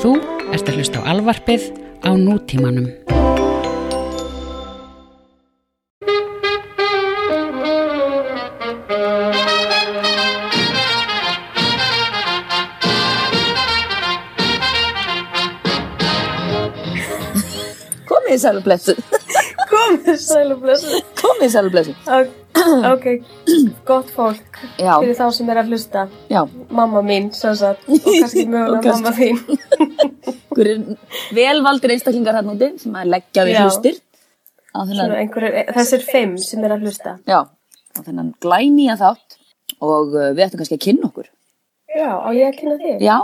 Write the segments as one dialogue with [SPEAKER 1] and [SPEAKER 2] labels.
[SPEAKER 1] Þú ert að hlusta á alvarpið á nútímanum.
[SPEAKER 2] Komið í sælublessu.
[SPEAKER 3] Komið sælu blessu.
[SPEAKER 2] Komið í sælublessu.
[SPEAKER 3] Ok, gott fólk
[SPEAKER 2] Já.
[SPEAKER 3] fyrir þá sem er að hlusta.
[SPEAKER 2] Já,
[SPEAKER 3] Mamma mín, sem sagt, og kannski
[SPEAKER 2] Og
[SPEAKER 3] mögulega
[SPEAKER 2] kannski-
[SPEAKER 3] mamma þín.
[SPEAKER 2] hverjir velvaldir einstaklingar hann úti sem að leggja við
[SPEAKER 3] Já.
[SPEAKER 2] hlustir. Á þennan,
[SPEAKER 3] Svona einhverjir- e, Þessir fimm sem er að hlusta.
[SPEAKER 2] já, á þennan glænýja þátt og uh, við ættum kannski að kynna okkur.
[SPEAKER 3] Já, á ég að kynna þig.
[SPEAKER 2] Já,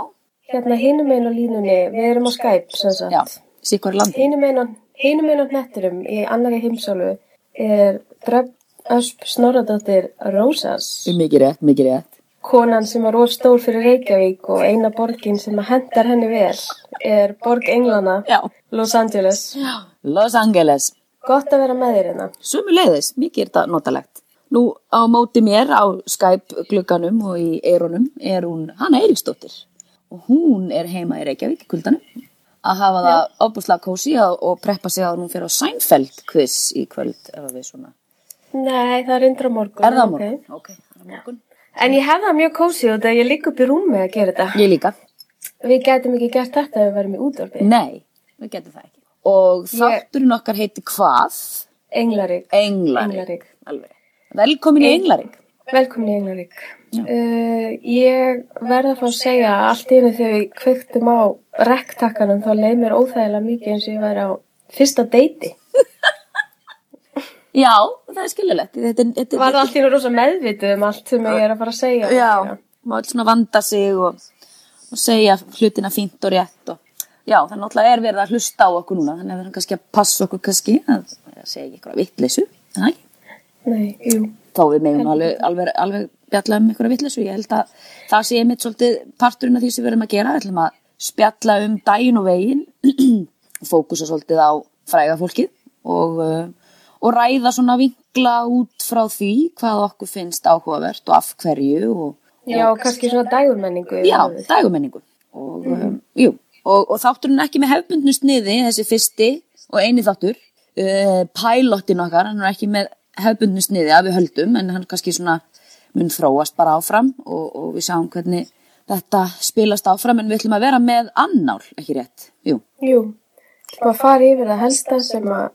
[SPEAKER 3] Hérna hinum einu línunni, við erum á Skype, sem
[SPEAKER 2] já,
[SPEAKER 3] sagt.
[SPEAKER 2] sikvar landi.
[SPEAKER 3] Hinum einu- hinum einu hnetturum í annari heimsálu er Dröfn Ösp Snorradóttir Rósas.
[SPEAKER 2] Mikið rétt, mikið rétt.
[SPEAKER 3] Konan sem var of stór fyrir Reykjavík og eina borgin sem að hendar henni vel er Borg Englana,
[SPEAKER 2] Já.
[SPEAKER 3] Los Angeles.
[SPEAKER 2] Los Angeles.
[SPEAKER 3] Gott að vera með þér hérna.
[SPEAKER 2] Sumu leiðis, mikið er þetta notalegt. Nú á móti mér á Skype glugganum og í eyrunum er hún Hanna Eiríksdóttir og hún er heima í Reykjavík í kuldanum að hafa það opuslega kósi og preppa sig að hún fyrir á Seinfeld quiz í kvöld ef að við svona.
[SPEAKER 3] Nei, það er reyndar á morgun.
[SPEAKER 2] Er það á
[SPEAKER 3] ok.
[SPEAKER 2] morgun? Ok, það er á morgun.
[SPEAKER 3] En ég hef það mjög kósið og það ég ligg upp í rúmi að gera þetta.
[SPEAKER 2] Ég líka.
[SPEAKER 3] Við gætum ekki gert þetta ef við værum í útvarpi.
[SPEAKER 2] Nei, við getum það ekki. Og þátturinn okkar heiti hvað?
[SPEAKER 3] Englarík.
[SPEAKER 2] Englarík.
[SPEAKER 3] Englarík.
[SPEAKER 2] Alveg. Velkomin í Englarík.
[SPEAKER 3] Velkomin í Englarík. Uh, ég verða að fá að segja að allt í einu þegar við kveiktum á rektakkanum þá leið mér óþægilega mikið eins og ég væri á fyrsta deiti.
[SPEAKER 2] Já, það er skiljulegt. Þetta, er- þetta, er-
[SPEAKER 3] Var það allt í einu rosa meðvitið um allt sem ég er að fara að segja.
[SPEAKER 2] Já, maður vil svona vanda sig og, og segja hlutina fínt og rétt og já, þannig náttúrulega er verið að hlusta á okkur núna, þannig að við erum kannski að passa okkur kannski að, að segja ekki eitthvað vitleysu, er það ekki?
[SPEAKER 3] Nei, jú.
[SPEAKER 2] Þó við megum alveg, alveg, alveg bjalla um eitthvað vitleysu, ég held að það sé einmitt svolítið parturinn af því sem við erum að gera, við ætlum að spjalla um daginn og veginn, fókusa svolítið á fræga fólkið og, uh, og ræða svona vinkla út frá því hvað okkur finnst áhugavert og af hverju og
[SPEAKER 3] Já, kannski svona dagurmenningu.
[SPEAKER 2] Já, dagumenningu. Og, um, jú, og, og þátturinn er ekki með hefbundnu sniði, þessi fyrsti og eini þáttur. Uh, pilotin okkar, hann er ekki með hefbundnu sniði að við höldum, en hann kannski svona mun þróast bara áfram og, og við sjáum hvernig þetta spilast áfram, en við ætlum að vera með annál, ekki rétt. Jú,
[SPEAKER 3] Jú, bara fara yfir það helsta sem að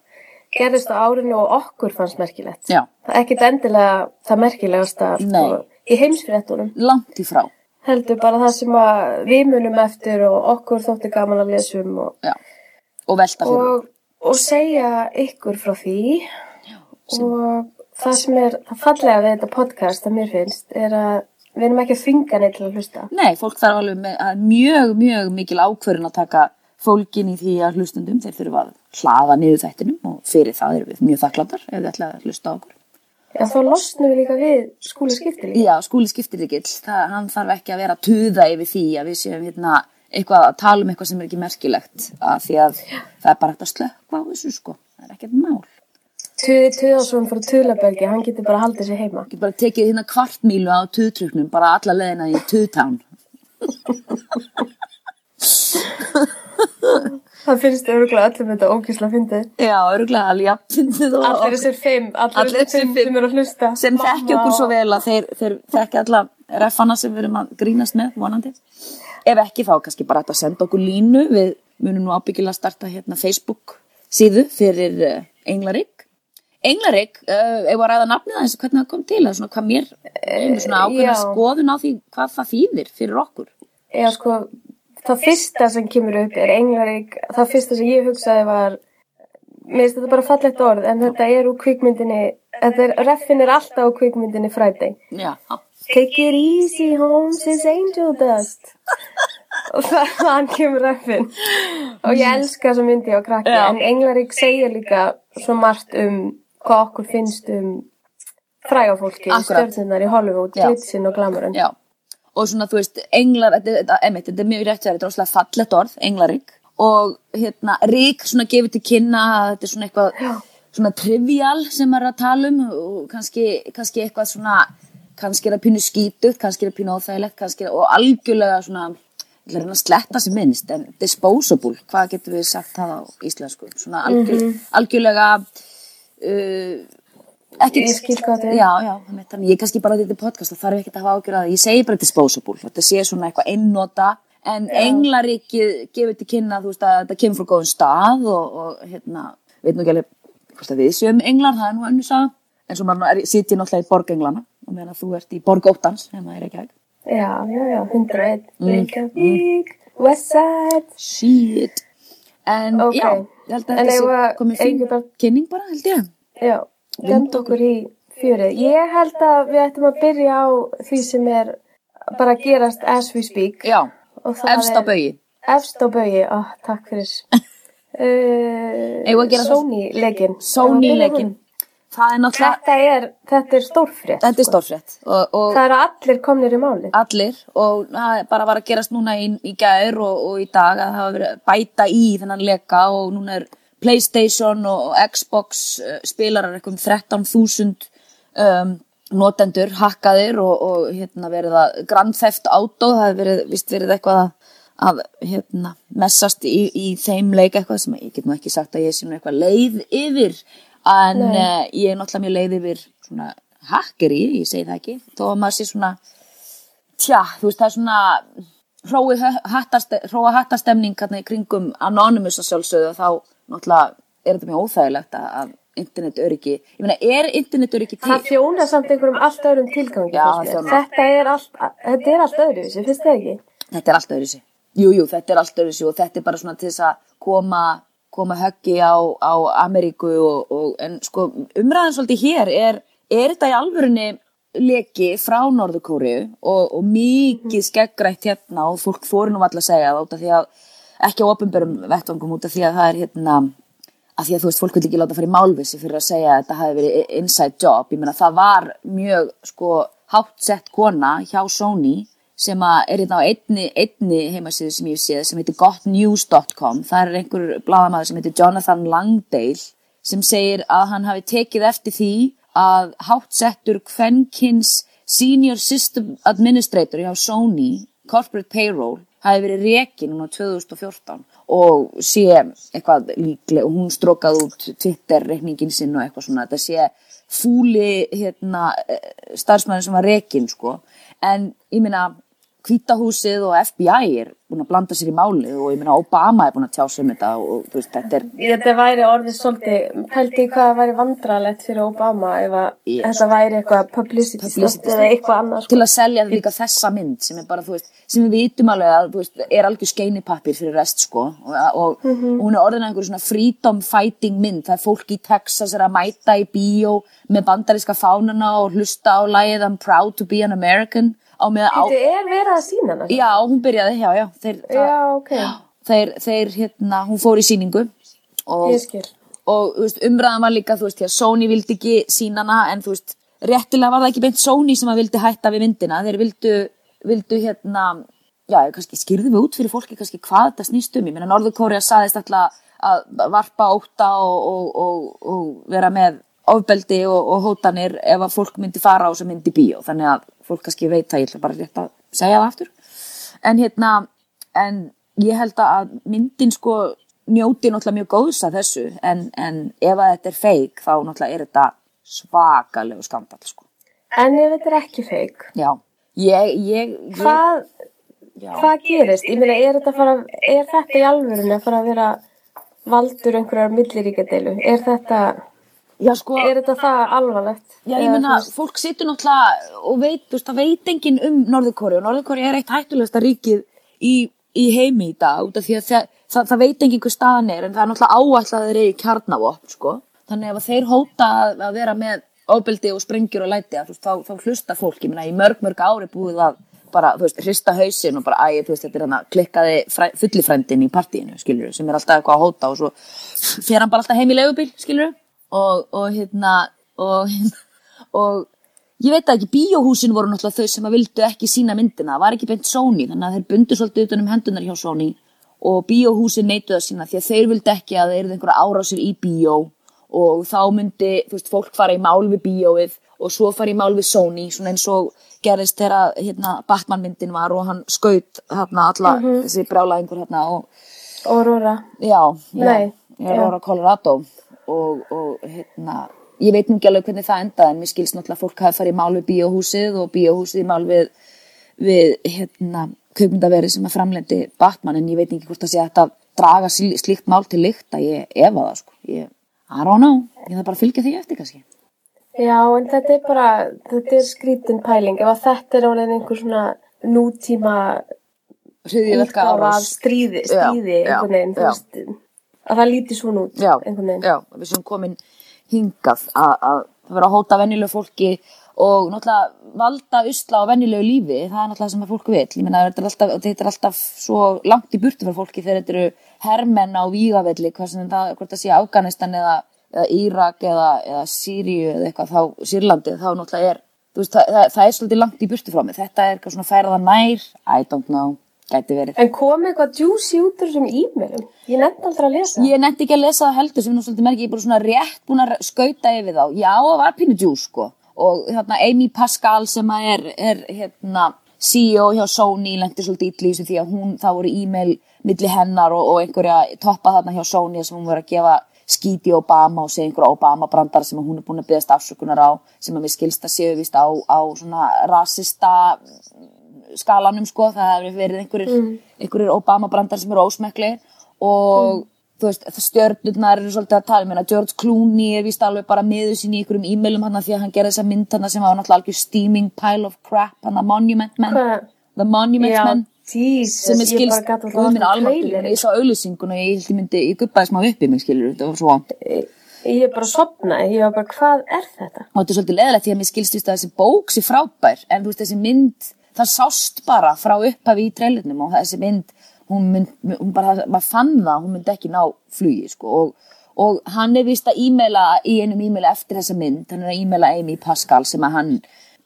[SPEAKER 3] gerðist á árinu og okkur fannst merkilegt.
[SPEAKER 2] já,
[SPEAKER 3] Það er ekkit endilega það merkilegasta sko,
[SPEAKER 2] Nei.
[SPEAKER 3] í heimsfréttunum.
[SPEAKER 2] langt í frá.
[SPEAKER 3] Heldur bara það sem að við munum eftir og okkur þótti gaman að lesum og,
[SPEAKER 2] Já, og velta fyrir.
[SPEAKER 3] og, og segja ykkur frá því. og það sem er það fallega við þetta podcast að mér finnst er að við erum ekki að þvinga neitt til að hlusta.
[SPEAKER 2] Nei, fólk þarf alveg með, að mjög, mjög mikil ákvörðin að taka fólkin í því að hlustundum. Þeir þurfa að hlaða niður þættinum og fyrir það erum við mjög þakklátar ef þið ætla að hlusta á okkur.
[SPEAKER 3] Já, þá losnum við líka við skúli skiptili.
[SPEAKER 2] Já, skúli skiptir ekki, það, hann þarf ekki að vera að tuða yfir því að við séum hérna eitthvað að tala um eitthvað sem er ekki merkilegt að því að það er bara hægt að slökka á þessu sko, það er ekkert mál.
[SPEAKER 3] Tuði Tuðarsson frá Tuðlabergi, hann getur bara haldið sér heima.
[SPEAKER 2] Ég bara tekið hérna kvartmílu á tuðtryknum bara alla leðina í tuðtán.
[SPEAKER 3] Það finnst örgulega öllum þetta ógísla fyndið.
[SPEAKER 2] Já, örgulega alveg jafnfindið og
[SPEAKER 3] Allir þessir fimm, allir
[SPEAKER 2] Allir
[SPEAKER 3] þessir
[SPEAKER 2] þessir
[SPEAKER 3] fimm sem eru að hlusta.
[SPEAKER 2] sem þekkja okkur svo vel að þeir, þeir þekkja alla refana sem við erum að grínast með vonandi. Ef ekki þá er kannski bara hægt að senda okkur línu við munum nú ábyggilega að starta hérna Facebook síðu fyrir eh, Englarik Englarik, uh, ef að ræða nafnið aðeins hvernig það kom til, eða svona hvað mér einu svona ákveðna
[SPEAKER 3] já.
[SPEAKER 2] skoðun á því hvað það þýðir fyrir okkur.
[SPEAKER 3] Já, sko, það fyrsta sem kemur upp er Englarík. Það fyrsta sem ég hugsaði var, mér finnst þetta bara fallegt orð, en þetta er úr kvikmyndinni, þetta er, reffin er alltaf úr kvikmyndinni Friday.
[SPEAKER 2] Já,
[SPEAKER 3] Take it easy, Holmes is angel dust. og það, hann kemur reffin. Og ég elska þessa myndi á krakki,
[SPEAKER 2] Já.
[SPEAKER 3] en Englarík segir líka svo margt um hvað okkur finnst um frægafólki,
[SPEAKER 2] Akkurat.
[SPEAKER 3] stjórnunar í Hollywood,
[SPEAKER 2] Já.
[SPEAKER 3] glitsin og glamurinn.
[SPEAKER 2] já. Og svona, þú veist, englar, þetta, þetta, emitt, þetta er mjög rétt hjá þér, þetta er óslega fallet orð, englarík. Og hérna, rík svona gefur til kynna að þetta er svona eitthvað, svona trivial sem maður er að tala um og kannski, kannski eitthvað svona, kannski er að pínu skítut, kannski er að pínu óþægilegt, kannski er, og algjörlega svona ég ætla að reyna að sletta sem minnst, en disposable, hvað getum við sagt það á íslensku? Svona algjör, algjörlega, uh, ekki,
[SPEAKER 3] Ég skil hvað þetta er.
[SPEAKER 2] Já, já, þannig, þannig ég kannski bara þetta podcast og þarf ekki að hafa ágjörð að því. ég segi bara disposable, þetta sé svona eitthvað einnota, en englaríkið gefur til kynna, þú veist að þetta kemur frá góðum stað og, og hérna, veit nú ekki alveg hvort að við séum englar, það er nú önnur saga, en svo maður er, sitja náttúrulega í borg englana, og meðan að þú ert í borg óttans, ef maður er ekki hægt.
[SPEAKER 3] Já, já, já, 101.
[SPEAKER 2] Mm.
[SPEAKER 3] Reykjavík, Westside.
[SPEAKER 2] Shit. En
[SPEAKER 3] Ok.
[SPEAKER 2] já, ég held að
[SPEAKER 3] En
[SPEAKER 2] þetta
[SPEAKER 3] ef
[SPEAKER 2] sé
[SPEAKER 3] að-
[SPEAKER 2] komið
[SPEAKER 3] eigum
[SPEAKER 2] fín
[SPEAKER 3] við bara-
[SPEAKER 2] kynning bara, held ég.
[SPEAKER 3] Já, gend okkur í fjörið. Ég held að við ættum að byrja á því sem er bara að gerast as we speak.
[SPEAKER 2] Já,
[SPEAKER 3] Og það
[SPEAKER 2] efst á
[SPEAKER 3] er-
[SPEAKER 2] baugi.
[SPEAKER 3] Efst á baugi, ó, takk fyrir.
[SPEAKER 2] Eigum við að
[SPEAKER 3] Uh,
[SPEAKER 2] gera það?
[SPEAKER 3] Sony-leikin.
[SPEAKER 2] Sónileikin. Það er náttúrulega,
[SPEAKER 3] Þetta er, þetta er stórfrétt. sko.
[SPEAKER 2] þetta er stórfrétt og, og
[SPEAKER 3] Það eru allir komnir í málið.
[SPEAKER 2] allir og það er bara var að gerast núna í, í gær og, og í dag að það hafa verið að bæta í þennan leka og núna er Playstation og, og Xbox uh, spilarar eitthvað um 13.000 um, notendur hakkaðir og, og hérna verið að Grand Theft Auto, það hefur verið, vist verið eitthvað að, að hérna, messast í, í þeim leik eitthvað sem ég get nú ekki sagt að ég sé nú eitthvað leið yfir en uh, ég er náttúrulega mjög leið yfir svona hakkeri, ég segi það ekki þó að maður sé svona tja, þú veist, það er svona hrói hö- hattaste, hróa hattastemning hérna í kringum Anonymous að sjálfsögðu og þá náttúrulega er þetta mjög óþægilegt að, að internetöryggi, ég meina, er internetöryggi til?
[SPEAKER 3] Það þjóna samt einhverjum allt öðrum tilgangi.
[SPEAKER 2] Já,
[SPEAKER 3] finnst
[SPEAKER 2] það
[SPEAKER 3] mér.
[SPEAKER 2] þjónar.
[SPEAKER 3] þetta er allt, þetta er allt öðru, þessi, finnst þið ekki?
[SPEAKER 2] Þetta er allt öðru sig. Jú, jú, þetta er allt öðru sig og þetta er bara svona til þess að koma, koma höggi á, á Ameríku og, og, en sko, umræðan svolítið hér er, er þetta í alvörunni leki frá Norðurkóriu og, og mikið skeggrætt hérna og fólk fóri nú alltaf að segja það út af því að, ekki á opinberum vettvangum út af því að það er hérna, að því að þú veist, fólk vil ekki láta fara í málvissi fyrir að segja að þetta hafi verið i- inside job. Ég meina, það var mjög, sko, hátt sett kona hjá Sony sem að er hérna á einni, einni heimasíðu sem ég hef séð sem heitir gotnews.com. Það er einhver bladamæður sem heitir Jonathan Langdale sem segir að hann hafi tekið eftir því að hátt settur kvenkins senior system administrator hjá Sony corporate payroll hafi verið rekin núna 2014 og sé eitthvað líklega og hún strókað út Twitter reikningin sinn og eitthvað svona þetta sé fúli hérna, starfsmæður sem var rekin sko. en ég meina Hvítahúsið og FBI er búin að blanda sér í málið og ég meina Obama er búin að tjá sig um þetta og þú veist, þetta er
[SPEAKER 3] Þetta væri orðið svolítið, pældi í hvað það væri vandralett fyrir Obama ef að
[SPEAKER 2] Yes.
[SPEAKER 3] þetta væri eitthvað publicity stunt eða eitthvað sko. annars.
[SPEAKER 2] til að selja líka þessa mynd sem er bara, þú veist, sem við vitum alveg að, þú veist, er algjör skeinipappir fyrir rest, sko, og, og
[SPEAKER 3] Mhm.
[SPEAKER 2] hún er orðin að einhverjum svona freedom fighting mynd, það er fólk í Texas er að mæta í bíó með bandaríska fánana og hlusta á lagið I'm proud to be an American á með á...
[SPEAKER 3] Þetta er verið að sína hana.
[SPEAKER 2] Já, hún byrjaði, já, já, þeir,
[SPEAKER 3] Já, ok.
[SPEAKER 2] þeir, þeir, hérna, hún fór í síningu og
[SPEAKER 3] Ég skil.
[SPEAKER 2] og þú veist, umræðan var líka þú veist, því að Sony vildi ekki sína hana en þú veist, réttilega var það ekki beint Sony sem að vildi hætta við myndina þeir vildu, vildu hérna já, kannski skýrðum við út fyrir fólki kannski hvað þetta snýst um, ég meina Norður-Kórea saðist alltaf að varpa óta og, og, og, og vera með ofbeldi og, og hótanir ef að fólk myndi fara á þess að myndi bíó þannig að fólk kannski veit að ég ætla bara rétt að segja það aftur en hérna, en ég held að myndin sko njóti náttúrulega mjög góðs að þessu en, en ef að þetta er feik þá náttúrulega er þetta svakalegu skandal sko.
[SPEAKER 3] En ef þetta er ekki feik,
[SPEAKER 2] Já, ég, ég, ég
[SPEAKER 3] hvað, hvað gerist? Ég meina, er þetta, fara, er þetta í alvörunni að fara að vera valdur einhverjar milliríkadeilu? Er þetta,
[SPEAKER 2] já sko,
[SPEAKER 3] er þetta það alvarlegt?
[SPEAKER 2] já ég
[SPEAKER 3] Eða
[SPEAKER 2] meina
[SPEAKER 3] þú veist,
[SPEAKER 2] fólk situr náttúrulega og veit, þú veist, það veit enginn um Norðurkóri og Norðurkóri er eitt hættulegasta ríkið í, í heimi í dag út af því að það, það, það veit enginn hver staðan er en það er náttúrulega áallt að þeir eru kjarnavopn sko, þannig ef að þeir hóta að, að vera með óbeldi og sprengjur og læti að, þú veist, þá, þá hlusta fólk, ég meina í mörg mörg ári búið að bara, þú veist, hrista hausinn og bara, æ, þú veist, þetta er hann að klikkaði fræ, fullifrændin í partíinu, skilur sem er alltaf eitthvað að hóta og svo fer hann bara alltaf heim í leigubíl, skilur og, og hérna, og hérna, og ég veit það ekki, bíóhúsin voru náttúrulega þau sem að vildu ekki sína myndina, það var ekki beint Sony, þannig að þeir bundu svolítið utan um hendunar hjá Sony og bíóhúsin neituðu að sína því að þeir vildu ekki að þeir eru einhverja árásir í bíó og þá myndi, þú veist, fólk fara í mál við bíóið og svo fara í mál við Sony, svona eins og gerist þegar hérna, Batman-myndin var og hann skaut hérna, alla þessi brjálæðingur hérna og
[SPEAKER 3] Aurora.
[SPEAKER 2] Já, já,
[SPEAKER 3] Nei,
[SPEAKER 2] ég er ára Colorado og, og hérna, ég veit nú ekki alveg hvernig það endaði en mér skilst náttúrulega að fólk hafi farið í mál við bíóhúsið og bíóhúsið í mál við, við hérna, kveikmyndaverið sem að framlendi Batman en ég veit ekki hvort það sé hægt að draga slí- slíkt mál til lykta, ég efa það sko, ég, I don't know, ég þarf bara að fylgja því eftir kannski.
[SPEAKER 3] Já, en þetta er bara, þetta er skrítin pæling. Ef að þetta er orðin einhver svona nútíma
[SPEAKER 2] Hriðjuverka
[SPEAKER 3] útgáfa af
[SPEAKER 2] árás.
[SPEAKER 3] stríði,
[SPEAKER 2] Já,
[SPEAKER 3] stríði
[SPEAKER 2] já,
[SPEAKER 3] einhvern veginn, þú
[SPEAKER 2] já.
[SPEAKER 3] veist, að það líti svona út
[SPEAKER 2] já,
[SPEAKER 3] einhvern veginn.
[SPEAKER 2] já, við sem komin hingað að að það vera að hóta venjulegu fólki og náttúrulega valda usla á venjulegu lífi, það er náttúrulega sem að fólk vil ég meina þetta er alltaf, þetta er alltaf svo langt í burtu fyrir fólki þegar þetta eru hermenn á vígavelli, hvað sem það hvort það sé Afganistan eða, eða Írak eða, eða Sýriu eða eitthvað þá Sýrlandi, þá náttúrulega er þú veist, það, það, það er svolítið langt í burtu frá mig þetta er eitthvað svona færða nær, I don't know gæti verið
[SPEAKER 3] En kom eitthvað juicy út úr þessum e-mailum? Ég nefndi aldrei að lesa.
[SPEAKER 2] Ég nefndi ekki að lesa það heldur sem er nú svolítið merki, ég er bara svona rétt búin að skauta yfir þá. Já, það var pínu djús sko. Og þarna Amy Pascal sem að er, er hérna, CEO hjá Sony lendi svolítið ítli í þessu því að hún, það voru e-mail milli hennar og, og einhverja toppa þarna hjá Sony sem hún voru að gefa skíti Obama og segja einhverja Obama brandar sem að hún er búin að byggast afsökunar á sem að mér skilst að séu vist á, á svona rasista skalanum sko, það hefur verið einhverjir,
[SPEAKER 3] Mm.
[SPEAKER 2] einhverjir Obama brandar sem eru ósmekli
[SPEAKER 3] Mm.
[SPEAKER 2] og þú veist, það stjörnurnar eru svolítið að tala, ég meina George Clooney er víst alveg bara miður sín í einhverjum e-mailum hann því að hann gerði þessa mynd hann sem var náttúrulega algjör steaming pile of crap, hann að Monument Men
[SPEAKER 3] Hvað?
[SPEAKER 2] The Monument
[SPEAKER 3] Já,
[SPEAKER 2] Men sem
[SPEAKER 3] Jesus,
[SPEAKER 2] er
[SPEAKER 3] ég bara
[SPEAKER 2] skilst,
[SPEAKER 3] gæti
[SPEAKER 2] guð minn almáttur
[SPEAKER 3] um trailer.
[SPEAKER 2] ég sá auðlýsingun og ég held ég myndi ég guppaði smá upp í mig skilur, þetta var svo vant
[SPEAKER 3] Ég er bara sopnaði, ég var bara, hvað er þetta?
[SPEAKER 2] og þetta er svolítið leðilegt því að mér skilst víst að þessi bók sé frábær en þú veist þessi mynd það sást bara frá upphafi í treylunum og þessi mynd hún, mynd, hún bara, maður fann það hún myndi ekki ná flugi sko og, og hann er vist að e-maila í einum e-maila eftir þessa mynd hann er að e-maila Amy Pascal sem að hann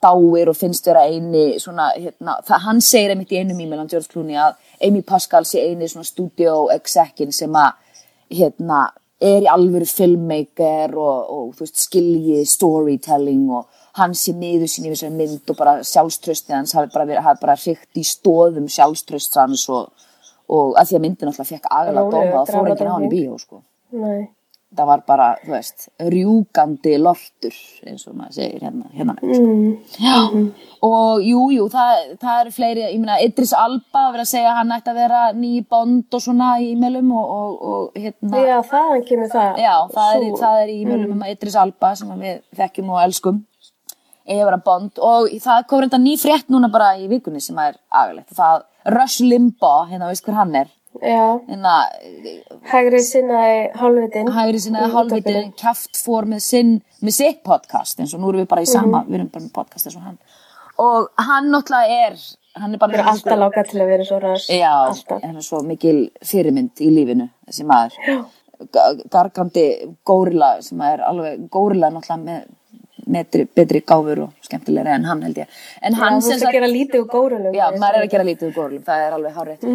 [SPEAKER 2] dáir og finnst vera eini svona, hérna, það, hann segir einmitt í einum e-mailan George Clooney að Amy Pascal sé eini svona studio exekin sem að hérna, er í alvöru filmmaker og, og þú veist, skilji storytelling og hann sé miður sín í þessari mynd og bara sjálfströstið hans hafi bara, verið, hafi bara hrygt í stóðum sjálfströst hans og, og að því að myndin alltaf fekk agalega
[SPEAKER 3] Rólegur
[SPEAKER 2] dóma og fór enginn á hann í
[SPEAKER 3] dramadrottning.
[SPEAKER 2] bíó sko.
[SPEAKER 3] Nei.
[SPEAKER 2] það var bara, þú veist, rjúkandi lortur eins og maður segir hérna, hérna með
[SPEAKER 3] Mm.
[SPEAKER 2] Já, og jú, jú, það, það eru fleiri, ég meina, Idris Alba verið að segja að hann ætti að vera ný bond og svona í e-mailum og, og, og hérna,
[SPEAKER 3] Já, þaðan kemur það.
[SPEAKER 2] Já, það er,
[SPEAKER 3] Sú-
[SPEAKER 2] það er í mjölum um Idris Alba sem að við þekkjum og elskum Evra Bond og það kom reynda ný frétt núna bara í vikunni sem er agalegt það Rush Limbaugh, hérna veist hver hann er
[SPEAKER 3] Já,
[SPEAKER 2] hérna
[SPEAKER 3] hægri sinnaði hálfvitin.
[SPEAKER 2] hægri sinna
[SPEAKER 3] Í
[SPEAKER 2] hálfvitið kjaft fór með, sinn, með sitt podcast eins og nú erum við bara í sama, við erum bara með podcast eins og hann og hann náttúrulega er hann er bara
[SPEAKER 3] Það er alltaf lága til að vera svo ræðs.
[SPEAKER 2] Já,
[SPEAKER 3] alltaf.
[SPEAKER 2] hann er svo mikil fyrirmynd í lífinu, þessi maður. Ga- Gargandi górila sem er alveg górila náttúrulega með metri, betri gáfur og skemmtilegri en hann held ég. En hann
[SPEAKER 3] Já, þú
[SPEAKER 2] sem
[SPEAKER 3] ert að
[SPEAKER 2] sagt,
[SPEAKER 3] gera lítið úr górunum.
[SPEAKER 2] já, maður er að gera lítið um górilum, það er alveg hárétt.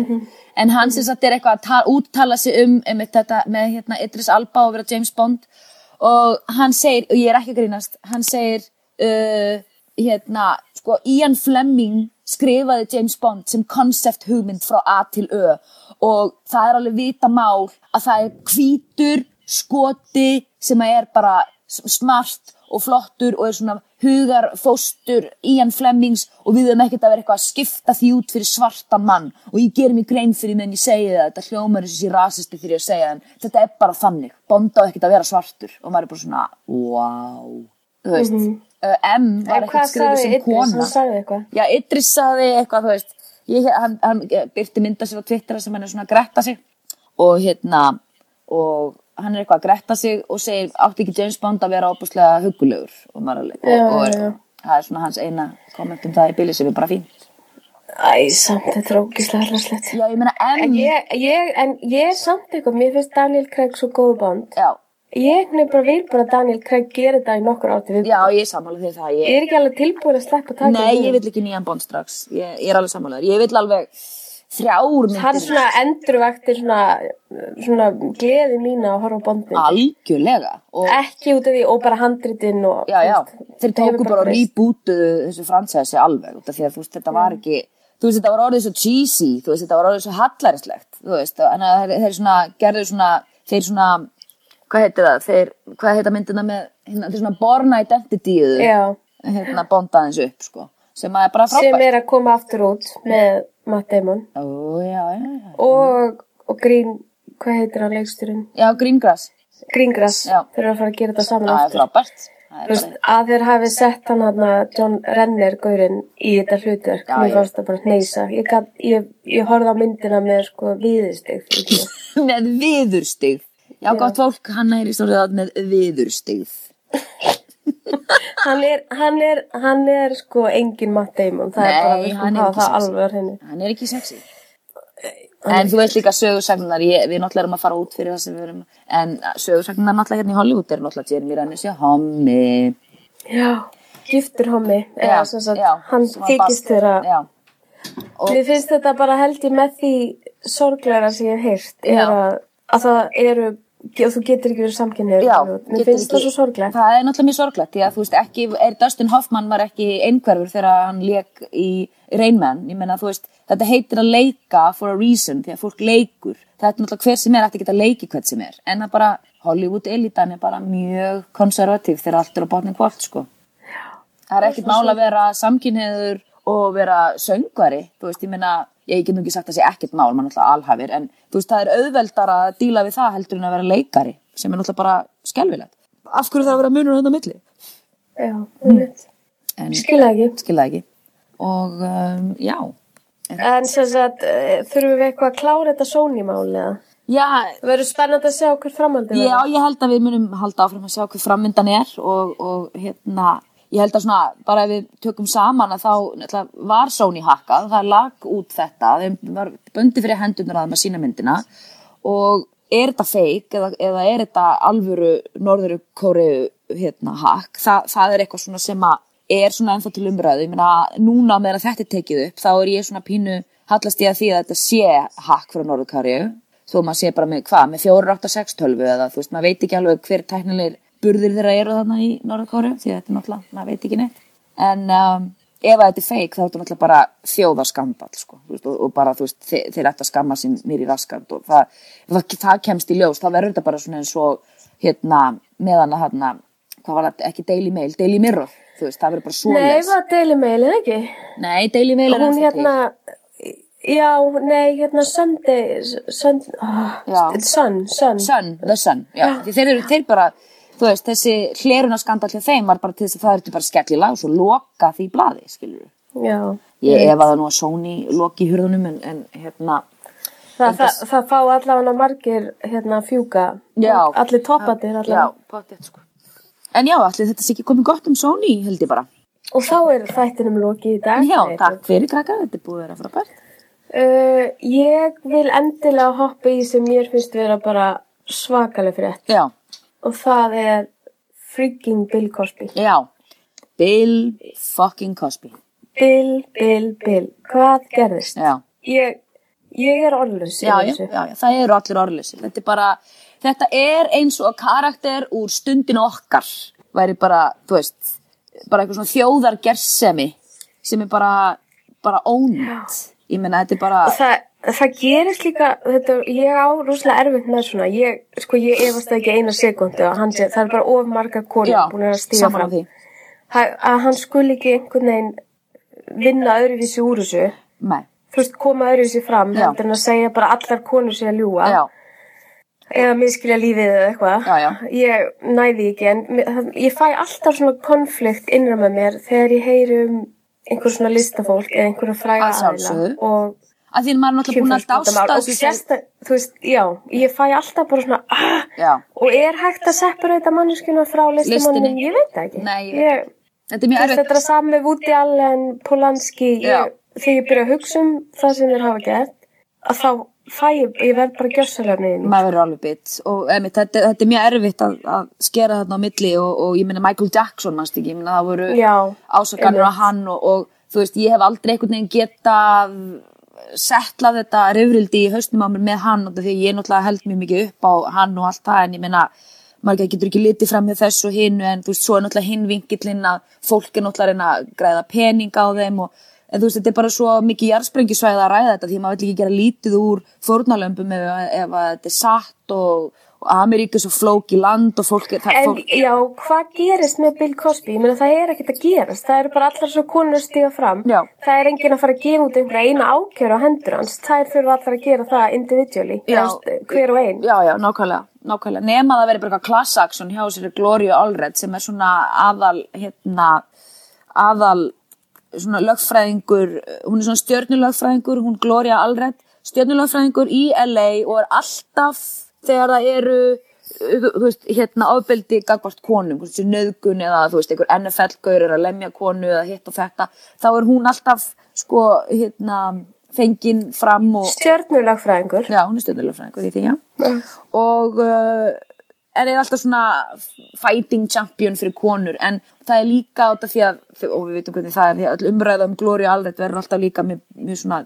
[SPEAKER 2] En hann sem sagt er eitthvað að ta- úttala sig um, um þetta með hérna Idris Alba og vera James Bond og hann segir, og ég er ekki að grínast, hann segir, uh, hérna, sko, Ian Fleming skrifaði James Bond sem concept hugmynd frá A til Ö og það er alveg vita mál að það er hvítur skoti sem að er bara s- smart og flottur og er svona hugarfóstur Ian Flemings og við höfum ekkert að vera eitthvað að skipta því út fyrir svartan mann og ég ger mér grein fyrir meðan ég segi það þetta hljómar eins og ég rasisti fyrir ég að segja það en þetta er bara þannig, bonda á ekkert að vera svartur og maður er bara svona, wow þú veist, mm M var
[SPEAKER 3] Mhm. En
[SPEAKER 2] ekkert
[SPEAKER 3] hvað
[SPEAKER 2] skrifið
[SPEAKER 3] sagði
[SPEAKER 2] sem
[SPEAKER 3] Idris?
[SPEAKER 2] kona
[SPEAKER 3] Hann sagði eitthvað.
[SPEAKER 2] Já, Idris saði eitthvað, þú veist, ég, hann, hann byrti mynda sér á Twitter þar sem hann er svona að gretta sig og hérna, og hann er eitthvað að gretta sig og segir, átti ekki James Bond að vera opuslega hugulegur og marguleg
[SPEAKER 3] Já,
[SPEAKER 2] og, og
[SPEAKER 3] já, já.
[SPEAKER 2] það er svona hans eina komment um það í bíli sem er bara fín.
[SPEAKER 3] Æ, samt, þetta er ógislega hræðslegt.
[SPEAKER 2] Já, ég meina,
[SPEAKER 3] En
[SPEAKER 2] en,
[SPEAKER 3] ég, ég, en ég er samt eitthvað, mér finnst Daniel Craig svo góð band.
[SPEAKER 2] já,
[SPEAKER 3] Ég nefnir bara vil bara að Daniel Craig gera þetta í nokkur átti við.
[SPEAKER 2] já, ég er sammála því það, ég,
[SPEAKER 3] Ég er ekki alveg tilbúin að sleppa takið.
[SPEAKER 2] Nei, ég vil ekki nýjan bond strax, ég, ég er alveg sammálaður, ég vil alveg þrjár myndir.
[SPEAKER 3] Það er svona endurvaktir svona, svona gleði mína að horfa á bondin.
[SPEAKER 2] Algjörlega. Og,
[SPEAKER 3] Ekki út af því og bara handritin og...
[SPEAKER 2] já, já,
[SPEAKER 3] þú veist,
[SPEAKER 2] þeir
[SPEAKER 3] það hefur
[SPEAKER 2] tóku bara og
[SPEAKER 3] breyst.
[SPEAKER 2] rebootuðu þessu fransæsi alveg út af því að þú veist, þetta var ekki þú veist, þetta var orðið svo cheesy þú veist, þetta var orðið svo hallarinslegt þú veist, þannig að þeir, þeir svona gerðu svona þeir svona, hvað heitir það þeir, hvað heita myndina með hérna, þeir svona borna identityðu
[SPEAKER 3] Já.
[SPEAKER 2] hérna bonda aðeins upp, sko sem að er bara
[SPEAKER 3] Sem
[SPEAKER 2] frábært
[SPEAKER 3] er að koma aftur út með Matt Damon.
[SPEAKER 2] Ó, já, já, já.
[SPEAKER 3] Og, og Green, hvað heitir hann leiksturinn?
[SPEAKER 2] já, Greengrass,
[SPEAKER 3] Greengrass.
[SPEAKER 2] Já.
[SPEAKER 3] Þeir eru að fara að gera þetta saman
[SPEAKER 2] það er
[SPEAKER 3] aftur.
[SPEAKER 2] frábært Það er bara-
[SPEAKER 3] Þú veist, að þeir hafi sett hann hann John Renner gaurinn í þetta hlutverk
[SPEAKER 2] Já,
[SPEAKER 3] mér
[SPEAKER 2] já.
[SPEAKER 3] fannst það bara hneysa ég, gat, ég, ég horfði á myndina með sko viðistig
[SPEAKER 2] með viðurstig já, gott fólk, hann er í stórið með viðurstig
[SPEAKER 3] hann, er, hann, er, hann er sko engin Matt Damon það
[SPEAKER 2] Nei,
[SPEAKER 3] er bara við
[SPEAKER 2] hann
[SPEAKER 3] sko
[SPEAKER 2] er ekki
[SPEAKER 3] hafa það
[SPEAKER 2] sexy.
[SPEAKER 3] alveg á henni
[SPEAKER 2] hann er ekki sexy en þú veist líka sögursagnar ég, við náttúrulega erum að fara út fyrir það sem við erum en sögursagnar náttúrulega hérna í Hollywood er náttúrulega Jeremy Renner sé hommi
[SPEAKER 3] já, giftur hommi eða, sem sagt,
[SPEAKER 2] já,
[SPEAKER 3] hann
[SPEAKER 2] sem var
[SPEAKER 3] þykist
[SPEAKER 2] barn.
[SPEAKER 3] þeirra
[SPEAKER 2] já,
[SPEAKER 3] Mér finnst þetta bara held ég með því sorglegra sem ég hef heyrt
[SPEAKER 2] Já.
[SPEAKER 3] er að, að það eru og þú getur ekki verið samkynniður
[SPEAKER 2] já
[SPEAKER 3] Mér
[SPEAKER 2] getur
[SPEAKER 3] finnst það
[SPEAKER 2] ekki-
[SPEAKER 3] svo sorglegt
[SPEAKER 2] það er náttúrulega mjög sorglegt því að þú veist ekki er Dustin Hoffman var ekki einhverfur þegar hann leik í Rain Man ég meina þú veist þetta heitir að leika for a reason því að fólk leikur það er náttúrulega hver sem er ætti að geta leiki hvert sem er en það bara Hollywood elitan er bara mjög konservatív þegar allt er á botnin kvart sko Það er ekkert mál að vera samkynniður og vera söngvari, þú veist, ég meina, ég get nú ekki sagt að sé ekkert mál, mann alltaf alhafir, en þú veist, það er auðveldar að díla við það heldur en að vera leikari, sem er náttúrulega bara skelvilegt. Af hverju það að vera munur þetta milli?
[SPEAKER 3] Já, mm.
[SPEAKER 2] En
[SPEAKER 3] skil ekki
[SPEAKER 2] skilða ekki. Og um, já,
[SPEAKER 3] En sem sagt, eh, þurfum við eitthvað að klára þetta Sony-máli eða?
[SPEAKER 2] já,
[SPEAKER 3] Það verður spennandi að sjá hver framhaldið
[SPEAKER 2] já,
[SPEAKER 3] verður.
[SPEAKER 2] ég held að við munum halda áfram að sjá hvað framvindan er og, og hérna, ég held að svona, bara ef við tökum saman að þá náttúrulega, var Sony hakkað, það lag út þetta, þeim var böndi fyrir hendunar að þeim að sína myndina og er þetta fake eða, eða er þetta alvöru norðuru kóriðu hérna hakk, Þa, það er eitthvað svona sem að er svona ennþá til umræðu, ég meina núna meðan að þetta er tekið upp, þá er ég svona pínu hallast ég að því að þetta sé hakk frá norður kóriðu, þó maður sé bara með hvað, með 486 tölvu eða þú veist, maður veit ekki alveg hver tæknilegir burðir þeirra eru þarna í norður kóriðu, því að þetta er náttúrulega, maður veit ekki neitt, en um, ef að þetta er fake þá er þetta náttúrulega bara þjóðarskandall sko, þú veist, og, og bara þú veist, þeir, þeir ættu að skamma sín mér í raskand og það, ef það, það kemst í ljós þá verður þetta bara svona eins og hérna, meðan að hérna hvað var það, ekki Daily Mail, Daily Mirror þú veist, það verður bara svo
[SPEAKER 3] Nei, var Daily Mail, eða ekki?
[SPEAKER 2] Nei, Daily Mail er
[SPEAKER 3] Hún
[SPEAKER 2] ennþá
[SPEAKER 3] hérna, já, nei, hérna Sunday, Sun,
[SPEAKER 2] Já.
[SPEAKER 3] oh, Sun, Sun.
[SPEAKER 2] til Sun, The Sun, já, því þeir eru þeir bara þú veist, þessi hlerunarskandall hjá þeim var bara til þess að það eru bara skellilega og svo loka því blaði, skilur
[SPEAKER 3] Já.
[SPEAKER 2] ég ef að það nú að Sony loki hurðunum en, en hérna
[SPEAKER 3] Það, það, það fá allavega margir hérna að fjúka.
[SPEAKER 2] Já.
[SPEAKER 3] Allir toppatir allavega.
[SPEAKER 2] Já, pottet sko. En já, allir þetta sé ekki komið gott um Sony, held ég bara.
[SPEAKER 3] Og þá er þættinum lokið í dag.
[SPEAKER 2] En já,
[SPEAKER 3] Nei,
[SPEAKER 2] takk fyrir krakka, þetta er búið að vera frábært.
[SPEAKER 3] Uh, ég vil endilega hoppa í sem mér finnst vera bara svakaleg frétt
[SPEAKER 2] Já,
[SPEAKER 3] og það er freaking Bill Cosby.
[SPEAKER 2] já. Bill fucking Cosby.
[SPEAKER 3] Bill, Bill, Bill, hvað gerðist?
[SPEAKER 2] Já,
[SPEAKER 3] Ég, ég er orðlös
[SPEAKER 2] já, já, já, já, það eru allir orðlýsir. Þetta er bara, þetta er eins og karakter úr stundin okkar. Væri bara, þú veist, bara eitthvað svona þjóðargersemi sem er bara, bara ónætt. Ég meina, þetta er bara,
[SPEAKER 3] Það, það gerist líka, þetta, ég á rosalega erfitt með svona, ég, sko, ég efast það ekki eina sekundu að hann sé, það er bara of marga konur búin
[SPEAKER 2] já,
[SPEAKER 3] að stíga
[SPEAKER 2] saman á
[SPEAKER 3] fram.
[SPEAKER 2] því.
[SPEAKER 3] Það, að hann skuli ekki einhvern veginn vinna öðruvísi úr þessu,
[SPEAKER 2] Nei,
[SPEAKER 3] þú veist, koma öðruvísi fram,
[SPEAKER 2] Já.
[SPEAKER 3] heldur en að segja bara allar konur sé að ljúa.
[SPEAKER 2] já,
[SPEAKER 3] eða miskilja lífið eða eitthvað
[SPEAKER 2] Já, já.
[SPEAKER 3] ég næði ekki en mér- það- ég fæ alltaf svona konflikt innra með mér þegar ég heyri um einhver svona listafólk eða einhverja fræga
[SPEAKER 2] Að sjálfsögðu.
[SPEAKER 3] og
[SPEAKER 2] að því að maður er náttúrulega búin að
[SPEAKER 3] kynferðisbrotamál.
[SPEAKER 2] dásta
[SPEAKER 3] og sérsta, þú veist, já, ég fæ alltaf bara svona ah,
[SPEAKER 2] Já.
[SPEAKER 3] og er hægt að separata manneskjuna frá listamannum,
[SPEAKER 2] Listinni.
[SPEAKER 3] ég veit það ekki
[SPEAKER 2] Nei, ég veit
[SPEAKER 3] ég,
[SPEAKER 2] Þetta er
[SPEAKER 3] þú
[SPEAKER 2] mjög
[SPEAKER 3] veist,
[SPEAKER 2] erfitt.
[SPEAKER 3] þetta er að sami með Woody Allen, Polanski
[SPEAKER 2] Já.
[SPEAKER 3] ég, þegar ég byrja að hugsa um það sem þeir hafa gert að þá fæ ég, ég verð bara um gjössalega með
[SPEAKER 2] maður verður alveg bit og einmitt, þetta, þetta er mjög erfitt að, að skera þarna á milli og, og ég meina Michael Jackson mannst ekki, ég meina það voru
[SPEAKER 3] Já,
[SPEAKER 2] ásakanur á
[SPEAKER 3] einmitt.
[SPEAKER 2] hann og, og þú veist, ég hef aldrei einhvern veginn getað setla þetta reyfrildi í haustum á mér með hann út af því að ég náttúrulega held mjög mikið upp á hann og allt það en ég meina margir getur ekki litið fram með þessu og hinu en þú veist, svo er náttúrulega hinn vingillinn að fólk er náttúrulega að reyna að græða pening á þeim og en þú veist, þetta er bara svo mikið jarðsprengisvæða að ræða þetta því maður vill ekki gera lítið úr fórnalömbum ef, ef að þetta er satt og, og Ameríka er svo flóki land og fólk er, það,
[SPEAKER 3] En
[SPEAKER 2] fólk,
[SPEAKER 3] já, hvað gerist með Bill Cosby? Ég meina það er ekkert að gerast. Það eru bara allar svo konur að stíga fram.
[SPEAKER 2] Já.
[SPEAKER 3] Það er enginn að fara að gefa út einhverja eina ákjöru á hendur hans. Það þurfa allar að gera það individually.
[SPEAKER 2] Já.
[SPEAKER 3] Eða, hver og einn.
[SPEAKER 2] já, já, nákvæmlega, nákvæmlega nema það verið bara eitthvað klassaksjón hjá þessari Gloria Allred sem er svona aðal hérna, aðal svona lögfræðingur hún er svona stjörnulögfræðingur, hún Gloria Allred stjörnulögfræðingur í LA og er alltaf þegar það eru þú þú veist, hérna ofbeldi gagvart konum, hvort þessi nöðgun eða þú veist, einhver NFL-gaur er að lemja konu eða hitt og þetta, þá er hún alltaf sko, hérna fengin fram og,
[SPEAKER 3] Stjörnulagfræðingur.
[SPEAKER 2] Já, hún er stjórnulegfræðingur í því, já. Og uh, er eða alltaf svona fighting champion fyrir konur, en það er líka át af því að, og við veitum hvernig það er, því að öll umræða um glóri og alrætt verður alltaf líka mjög, mjög svona,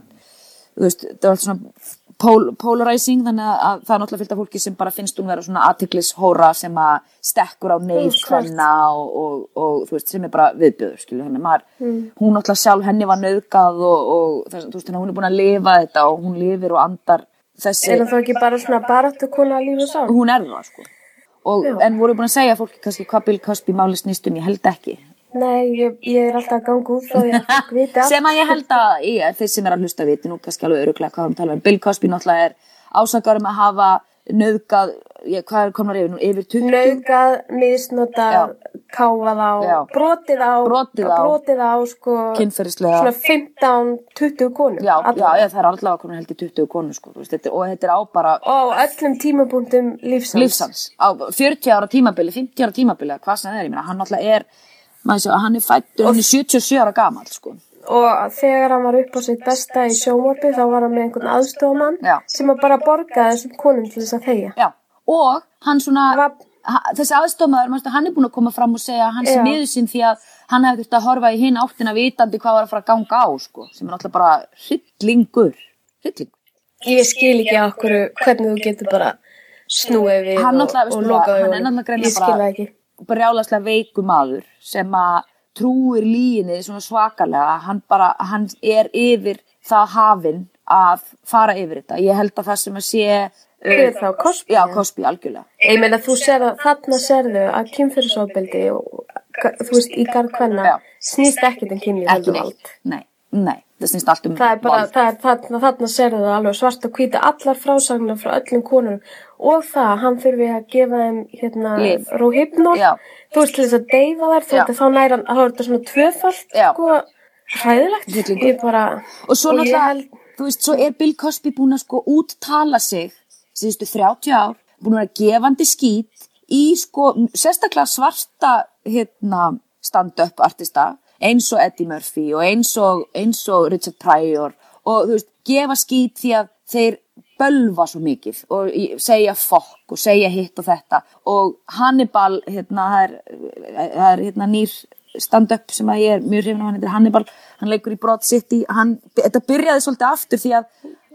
[SPEAKER 2] þú veist, það er alltaf svona pol polarizing, þannig að- að það er náttúrulega fylgt af fólki sem bara finnst hún vera svona aðtiklis sem að stekkur á neyð
[SPEAKER 3] Mm, klart.
[SPEAKER 2] hvenna og, og, og þú veist, sem er bara viðbjöður, skilju, þannig að maður, hún náttúrulega sjálf henni var nöðgað og, og þess, þú veist, þannig að hún er búin að lifa þetta og hún lifir og andar þessi,
[SPEAKER 3] Er það þá ekki bara svona baráttu kona að lífa sá?
[SPEAKER 2] hún er það, sko. Og, en voru búin að segja fólki kannski hvað Bill Cosby máli snýstum, ég held ekki.
[SPEAKER 3] Nei, ég, ég er alltaf að ganga út og ég er að vita.
[SPEAKER 2] sem að ég held að ég, þeir sem er að hlusta viti nú kannski alveg öruglega hvað hann tala um Bill Cosby náttúrulega er ásakar um að hafa nöðgað, ég, hvað er komnar yfir nú yfir 20
[SPEAKER 3] Naugað, misnotað, káfað á,
[SPEAKER 2] Já.
[SPEAKER 3] brotið á,
[SPEAKER 2] Brotið á.
[SPEAKER 3] brotið á sko,
[SPEAKER 2] kynferðislega
[SPEAKER 3] svona 15-20 konum.
[SPEAKER 2] já, já,
[SPEAKER 3] allavega.
[SPEAKER 2] já, það er allavega komin held í 20 konur sko, þú veist, þetta, og þetta er á bara
[SPEAKER 3] Og á öllum tímabúndum lífsans.
[SPEAKER 2] lífsans, á 40 ára tímabili 50 ára tímabili, eða hvað sem það er, ég meina hann náttúrulega er, maður séu, hann er fættur hann er 77 ára gamall sko
[SPEAKER 3] Og þegar hann var upp á sitt besta í sjómorfi þá var hann með einhvern aðstofamann
[SPEAKER 2] Já.
[SPEAKER 3] sem að bara borgaði þessum konum til þess að þegja.
[SPEAKER 2] Já, og hann svona,
[SPEAKER 3] Var-
[SPEAKER 2] ha- þessi aðstofmaður, manstu, hann er búin að koma fram og segja að hann sé
[SPEAKER 3] Já.
[SPEAKER 2] miður sín því að hann hefði þurft að horfa í hinn áttina vitandi hvað var að fara að ganga á, sko, sem er náttúrulega bara hryllingur, hryllingur.
[SPEAKER 3] Ég skil ekki af hverju, hvernig þú getur bara snúið við
[SPEAKER 2] Hann
[SPEAKER 3] og,
[SPEAKER 2] náttúrulega,
[SPEAKER 3] og
[SPEAKER 2] veistu
[SPEAKER 3] lokaði
[SPEAKER 2] það, hann er náttúrulega greinilega
[SPEAKER 3] Ég skil
[SPEAKER 2] bara-
[SPEAKER 3] það ekki.
[SPEAKER 2] Brjálaslega veikur maður sem að trúir líginni svona svakalega, hann bara, hann er yfir það hafinn að fara yfir þetta. Ég held að það sem að sé...
[SPEAKER 3] Hver þá, Cosby?
[SPEAKER 2] Já, Cosby, algjörlega.
[SPEAKER 3] Ég meina þú serðu, þarna serðu að kynfyrirsofbeldi og þú veist í garð hvenna
[SPEAKER 2] Já.
[SPEAKER 3] snýst ekkert um kynlíf
[SPEAKER 2] Ekki
[SPEAKER 3] heldur vald.
[SPEAKER 2] neitt. Nei, nei, það snýst allt um
[SPEAKER 3] Það er bara,
[SPEAKER 2] vald.
[SPEAKER 3] það er, þarna, þarna serðu það alveg svart og hvíta allar frásagnar frá öllum konum og það að hann þurfi að gefa þeim hérna
[SPEAKER 2] Lyf.
[SPEAKER 3] róhypnol,
[SPEAKER 2] Já.
[SPEAKER 3] þú veist til þess að deyfa þær, þú
[SPEAKER 2] Já.
[SPEAKER 3] veist að þá næra hann, þá er þetta svona tvöfalt,
[SPEAKER 2] Já.
[SPEAKER 3] sko, hræðilegt,
[SPEAKER 2] Hryllingur.
[SPEAKER 3] ég bara,
[SPEAKER 2] og svo
[SPEAKER 3] ég
[SPEAKER 2] náttúrulega,
[SPEAKER 3] held,
[SPEAKER 2] þú veist, svo er Bill Cosby búin að sko úttala sig síðustu 30 ár, búin að vera gefandi skýt í sko sérstaklega svarta hérna stand-up artista eins og Eddie Murphy og eins og, eins og Richard Pryor og þú veist, gefa skýt því að þeir bölva svo mikið og í- segja fokk og segja hitt og þetta og Hannibal hérna, það er, það er hérna nýr stand-up sem að ég er mjög hrifin af hann heitir Hannibal, hann leikur í Broad City hann, þetta byrjaði svolítið aftur því að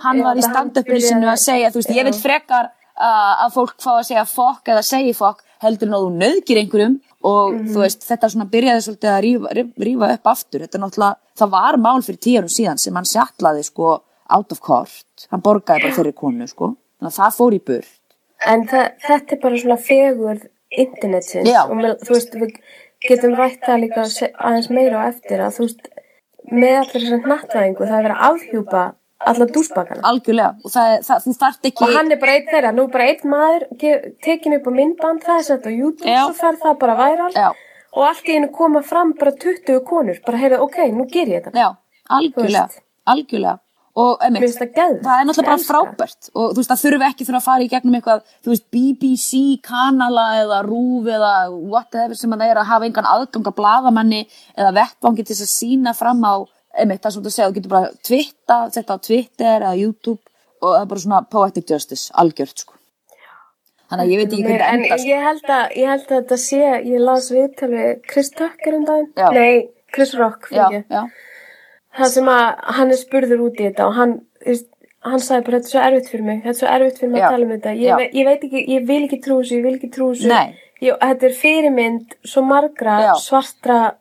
[SPEAKER 2] hann
[SPEAKER 3] Já,
[SPEAKER 2] var í
[SPEAKER 3] hann
[SPEAKER 2] stand-upinu
[SPEAKER 3] byrjaði-
[SPEAKER 2] sinu að segja, þú veist, ég
[SPEAKER 3] Já.
[SPEAKER 2] vil frekar uh, að fólk fá að segja fokk eða segi fokk, heldur en að þú nöðgir einhverjum og
[SPEAKER 3] Mhm.
[SPEAKER 2] þú veist, þetta svona byrjaði svolítið að rífa, ríf- rífa upp aftur þetta er náttúrulega, það var mál fyrir tíðanum síðan sem hann sjallaði sko out of court, hann borgaði bara þeirri konu sko, þannig að það fór í burt
[SPEAKER 3] en það, þetta er bara svona fegurð internetsins
[SPEAKER 2] Já.
[SPEAKER 3] og með, þú veist, við getum rætt það líka se- aðeins meira á eftir að þú veist, með allir þessar hnattvæðingu, það er verið að afhjúpa alla dúsbakana.
[SPEAKER 2] algjörlega, og það, er- það, þú þarft ekki
[SPEAKER 3] Og hann er bara einn þeirra, nú er bara einn maður ge- tekinn upp á myndband, það er sett á YouTube,
[SPEAKER 2] Já.
[SPEAKER 3] svo fer það bara væral
[SPEAKER 2] Já.
[SPEAKER 3] og allt í einu koma fram bara 20 konur, bara heyrðu, ok, nú ger ég þetta.
[SPEAKER 2] Já, algjörlega,
[SPEAKER 3] Þú veist.
[SPEAKER 2] algjörlega og
[SPEAKER 3] Mér
[SPEAKER 2] emitt,
[SPEAKER 3] finnst það geðveikt.
[SPEAKER 2] það er náttúrulega bara
[SPEAKER 3] Ég elska.
[SPEAKER 2] frábært og þú veist, það þurfi ekki þurfa að fara í gegnum eitthvað, þú veist, BBC kanala eða RÚV eða whatever sem það er að hafa engan aðgang að bladamanni eða vettvangi til þess að sína fram á, emitt, það er svona að segja þú getur bara tvitta, þetta á Twitter eða YouTube og það er bara svona poetic justice, algjört, sko Þannig að ég veit ekki hvernig
[SPEAKER 3] En
[SPEAKER 2] það endast
[SPEAKER 3] ég held, að, ég held að þetta sé, ég las viðtal við Chris Tucker um daginn,
[SPEAKER 2] Já.
[SPEAKER 3] nei, Chris Rock,
[SPEAKER 2] Já,
[SPEAKER 3] fyrir
[SPEAKER 2] já,
[SPEAKER 3] það sem að hann er spurður út í þetta og hann þú veist, hann sagði bara, þetta er svo erfitt fyrir mig, þetta er svo erfitt fyrir mig
[SPEAKER 2] Já.
[SPEAKER 3] að tala um þetta,
[SPEAKER 2] Já.
[SPEAKER 3] ég, ve ég veit ekki, ég vil ekki trú þessu, ég vil ekki trú þessu,
[SPEAKER 2] Nei.
[SPEAKER 3] Ég, þetta er fyrirmynd svo margra
[SPEAKER 2] Já.
[SPEAKER 3] svartra,